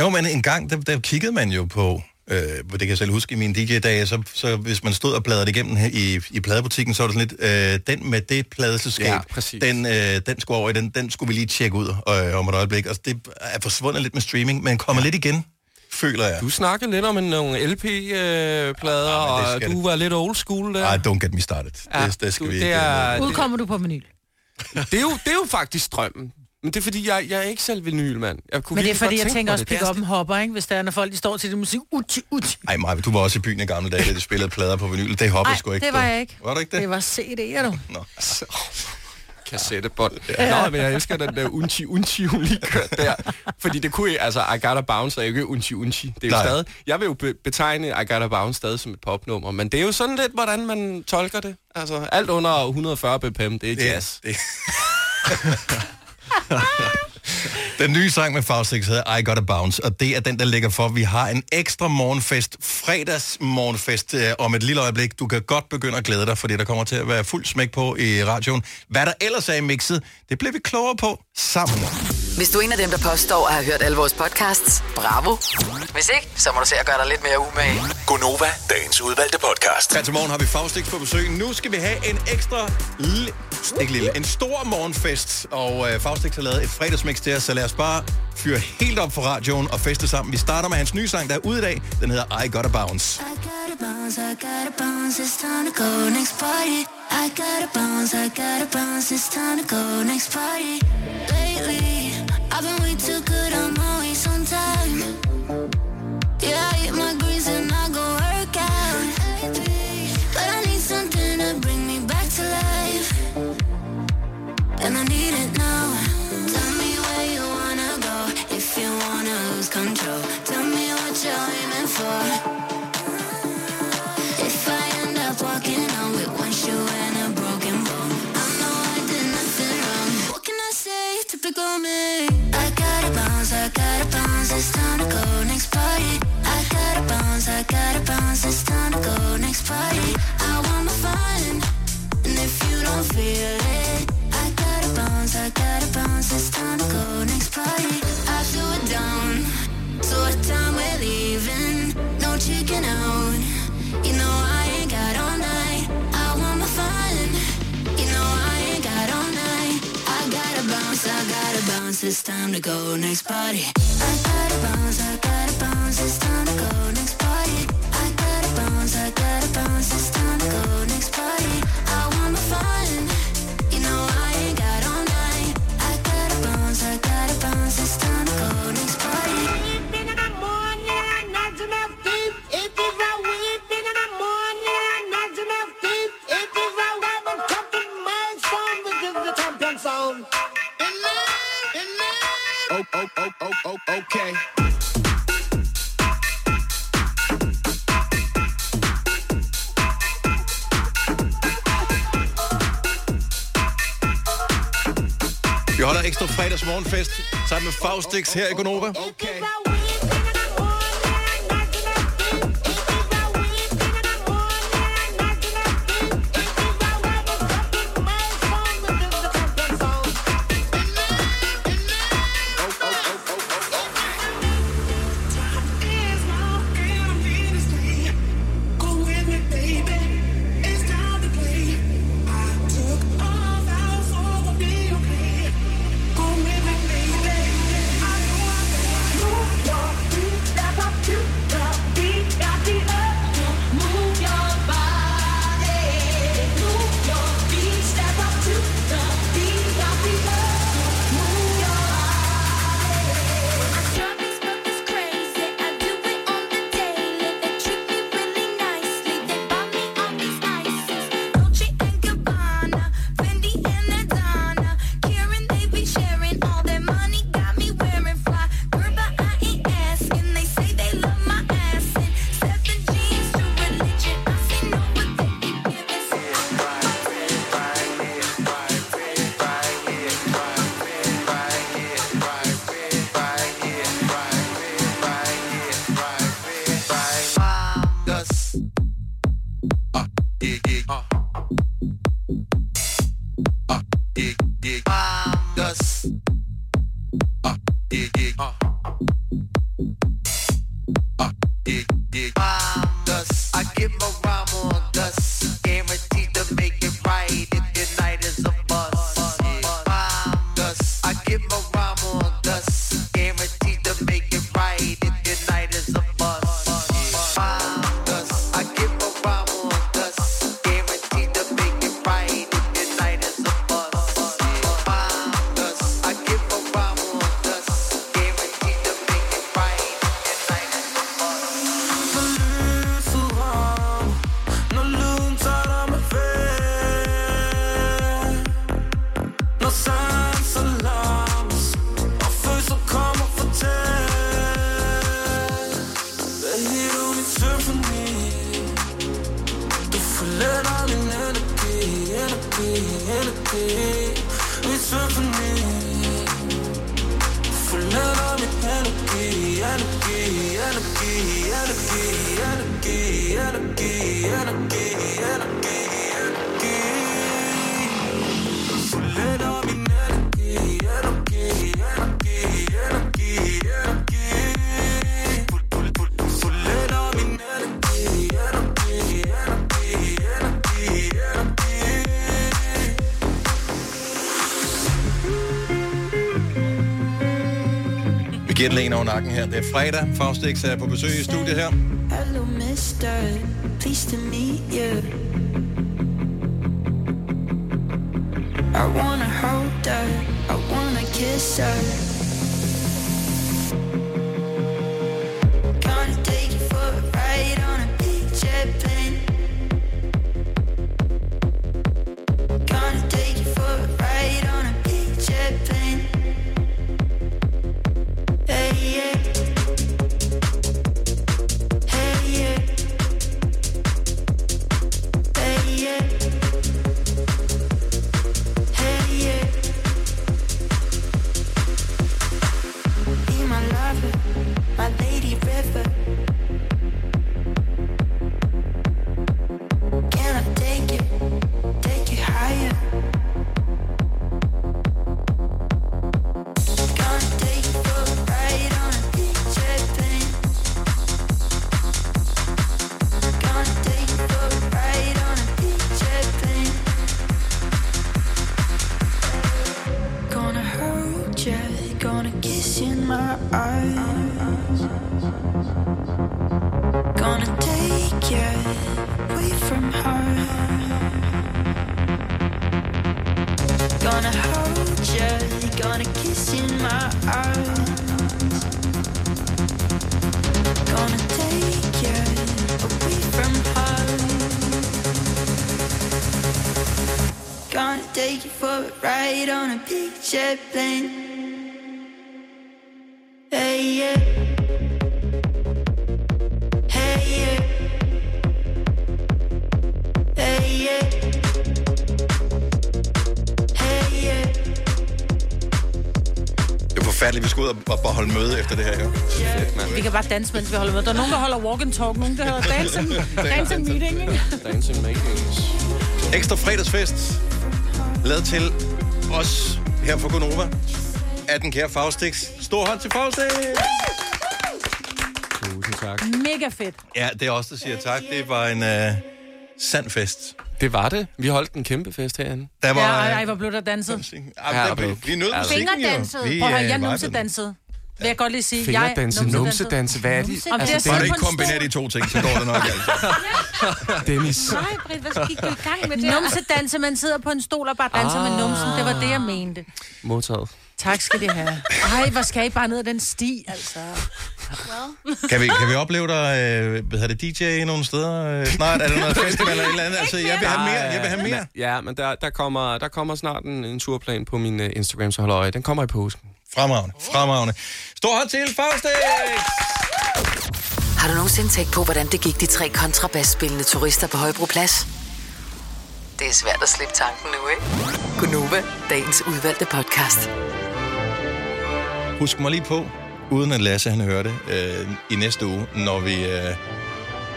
Jo, men en gang, der, der kiggede man jo på, øh, det kan jeg selv huske i mine DJ-dage, så, så hvis man stod og bladrede det igennem her i, i pladebutikken, så var det sådan lidt, øh, den med det pladeselskab, ja, den, øh, den skulle over i den, den skulle vi lige tjekke ud øh, om et øjeblik. Altså, det er forsvundet lidt med streaming, men kommer ja. lidt igen, føler jeg. Du snakkede lidt om en, nogle LP-plader, men det og skal du det- var lidt old school der. Ej, don't get me started. Ja, det, det skal du- vi det ikke. er- øh, Udkommer du på menu. det, er jo, det er jo faktisk drømmen. Men det er fordi, jeg, jeg er ikke selv vinyl, mand. Jeg kunne Men det er virkelig godt fordi, jeg tænke tænker mig også, det. Det er pick op en hopper, ikke? Hvis der er, når folk de står til det musik, uchi, uchi. Ej, Maja, du var også i byen i gamle dage, da de spillede plader på vinyl. Det hoppede Ej, sgu ikke. det du. var jeg ikke. Var du ikke det? Det var CD'er, du. Nå. kassettebånd. Ja. Nå, men jeg elsker den der unchi unchi, hun lige kørte der. Fordi det kunne, altså, I Gotta Bounce er jo ikke unchi unchi. Det er jo Nej. stadig, jeg vil jo be- betegne I Gotta Bounce stadig som et popnummer, men det er jo sådan lidt, hvordan man tolker det. Altså, alt under 140 bpm, det er jazz. Det, Den nye sang med Faustix hedder I Gotta Bounce, og det er den, der ligger for. Vi har en ekstra morgenfest, fredagsmorgenfest, øh, om et lille øjeblik. Du kan godt begynde at glæde dig, fordi der kommer til at være fuld smæk på i radioen. Hvad der ellers er i mixet, det bliver vi klogere på sammen. Hvis du er en af dem, der påstår at have hørt alle vores podcasts, bravo. Hvis ikke, så må du se at gøre dig lidt mere umage. Gonova, dagens udvalgte podcast. Her til morgen har vi Faustix på besøg. Nu skal vi have en ekstra lille, ikke lille, en stor morgenfest. Og øh, Faustix har lavet et fredagsmix til os, så lad os bare fyre helt op for radioen og feste sammen. Vi starter med hans nye sang, der er ude i dag. Den hedder I Gotta Bounce. I gotta bounce, I gotta bounce, it's time to go next party. I gotta bounce, I gotta bounce, it's time to go next party. Lately, I've been way too good, I'm always on time. Yeah, I eat my greens and I go work out. But I need something to bring me back to life. And I need it now. Tell me where you wanna go, if you wanna lose control. Tell me what you're aiming for. If I end up walking on with one shoe and a broken bone, I know I did nothing wrong. What can I say? Typical me. I gotta bounce, I gotta bounce. It's time to go next party. I gotta bounce, I gotta bounce. It's time to go next party. I want my fun, and if you don't feel it, I gotta bounce, I gotta bounce. It's time to go next party. I flew it down, so what time we're leaving? No chicken out. You know I ain't got all night. I want my fun. You know I ain't got all night. I gotta bounce, I gotta bounce. It's time to go next party. I gotta bounce, I gotta bounce. It's time to go next party. I gotta bounce, I gotta bounce. It's time to go next party. I want my fun. You know I ain't got all night. I gotta bounce, I gotta bounce. It's time to go next party. Oh, oh, oh, oh, oh, okay. Vi holder ekstra fredagsmorgenfest sammen med Faustix her i Gonova. Okay. Go with me, baby. I know I got you. dig, dig. Og Og dig, dig. Das. Og dig, dig. Og Og dig, dig. Das. I give my rhyme on dust. Guaranteed to make it right if your night is a bust. Yeah. Thus, I give my rhyme on dust. Guaranteed to make it right if your night is a bust. Yeah. Thus, I give my rhyme on dust. Guaranteed to make it right if your night is a bust. Yeah. Thus, I give my rhyme on dust. Guaranteed to make it right if your night is a bust. Når lyden tager mig væk Når sanser lammes Og følelser kommer for tæt Hvad er du min symfoni? Du forlader min energi Energi, energi Min symfoni Du forlader min energi Energi, energi, energi, energi, energi, energi, energi, energi Forlader min energi, energi, energi, energi, energi Forlader min energi, energi, energi, energi, energi Vi giver den en over nakken her. Det er fredag. Faustix er på besøg i studiet her. Hello, mister. Pleased to meet you. I wanna hold her. I wanna kiss her. Gonna take you for a ride on a beach airplane. Gonna take you for a ride on a beach airplane. Hey, yeah. Gonna hold ya, gonna kiss in my eyes. Gonna take ya away from her. Gonna hold ya, gonna kiss in my eyes. Gonna take ya away from her. Gonna take you for a ride on a beach airplane. Hey yeah. Hey yeah. Hey yeah. Hey yeah. Det er forfærdeligt, vi skal ud og, og, og holde møde efter det her. Jo. Fedt, mand. Vi kan bare danse, mens vi holder med. Der er nogen, der holder walk and talk, nogen, der holder dance and, dance and meeting. ikke? Dancing makings. Ekstra fredagsfest. Lad til os her fra Gonova. Af den kære Faustix. Stor hånd til Faustix! Tusind tak. Mega fedt. Ja, det er også der siger tak. Det var en øh, sand fest. Det var det. Vi holdt en kæmpe fest herinde. Der Ja, ej, ej, hvor blev der danset. Ja, der blev- vi nød musikken, jo. Fingerdanset. Vi, Prøv at øh, høre, jeg vibede numsedansede. Vil jeg godt lige sige. Fingerdanse, jeg numsedanse, hvad er de? Om det er Bare sådan du på ikke en stol. kombinerer de to ting, så går det nok altså. Dennis. Nej, Britt, hvad gik du i gang med det? Numsedanse, man sidder på en stol og bare danser ah. med numsen. Det var det, jeg mente. Modtaget. Tak skal de have. Ej, hvor skal I bare ned ad den sti, altså. Well. Kan vi, kan vi opleve dig, øh, hvad hedder det, DJ nogle steder øh, snart? Er der noget festival eller et eller andet? Altså, jeg vil have mere, jeg vil have mere. Ja, men der, der, kommer, der kommer snart en, en turplan på min uh, Instagram, så hold øje. Den kommer i påsken. Fremragende, fremragende. Stor hånd til Faustix! Har du nogensinde tænkt på, hvordan det gik de tre kontrabasspillende turister på Højbroplads? Det er svært at slippe tanken nu, ikke? Gunova, dagens udvalgte podcast. Husk mig lige på, uden at Lasse han hører det, øh, i næste uge, når vi øh,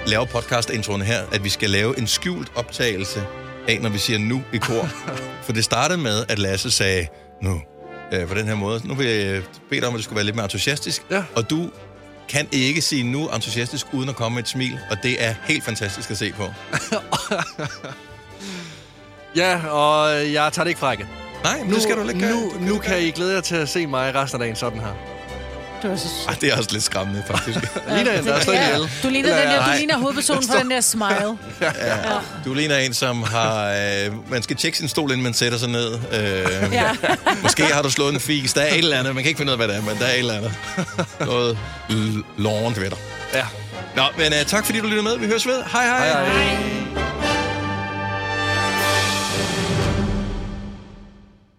laver podcastintroen her, at vi skal lave en skjult optagelse af, når vi siger nu i kor. For det startede med, at Lasse sagde nu øh, på den her måde. Nu vil jeg øh, bede dig om, at du skulle være lidt mere entusiastisk. Ja. Og du kan ikke sige nu entusiastisk, uden at komme med et smil. Og det er helt fantastisk at se på. Ja, og øh, jeg tager det ikke fra igen. Nej, men det skal du ikke gøre. Nu, nu kan I glæde jer til at se mig resten af dagen sådan her. Det var så sødt. Ej, det er også lidt skræmmende, faktisk. Ligner en, der er slået Ja, ihjel. Du ligner, den der, du Nej. ligner hovedpersonen for den der smile. Ja. Du ligner en, som har... Øh, man skal tjekke sin stol, inden man sætter sig ned. Øh, Ja. ja. Måske har du slået en fis. Der er et eller andet. Man kan ikke finde ud af, hvad det er, men der er et eller andet. Noget l- lorent ved dig. Ja. Nå, men øh, tak fordi du lyttede med. Vi høres ved. Hej hej. hej, hej.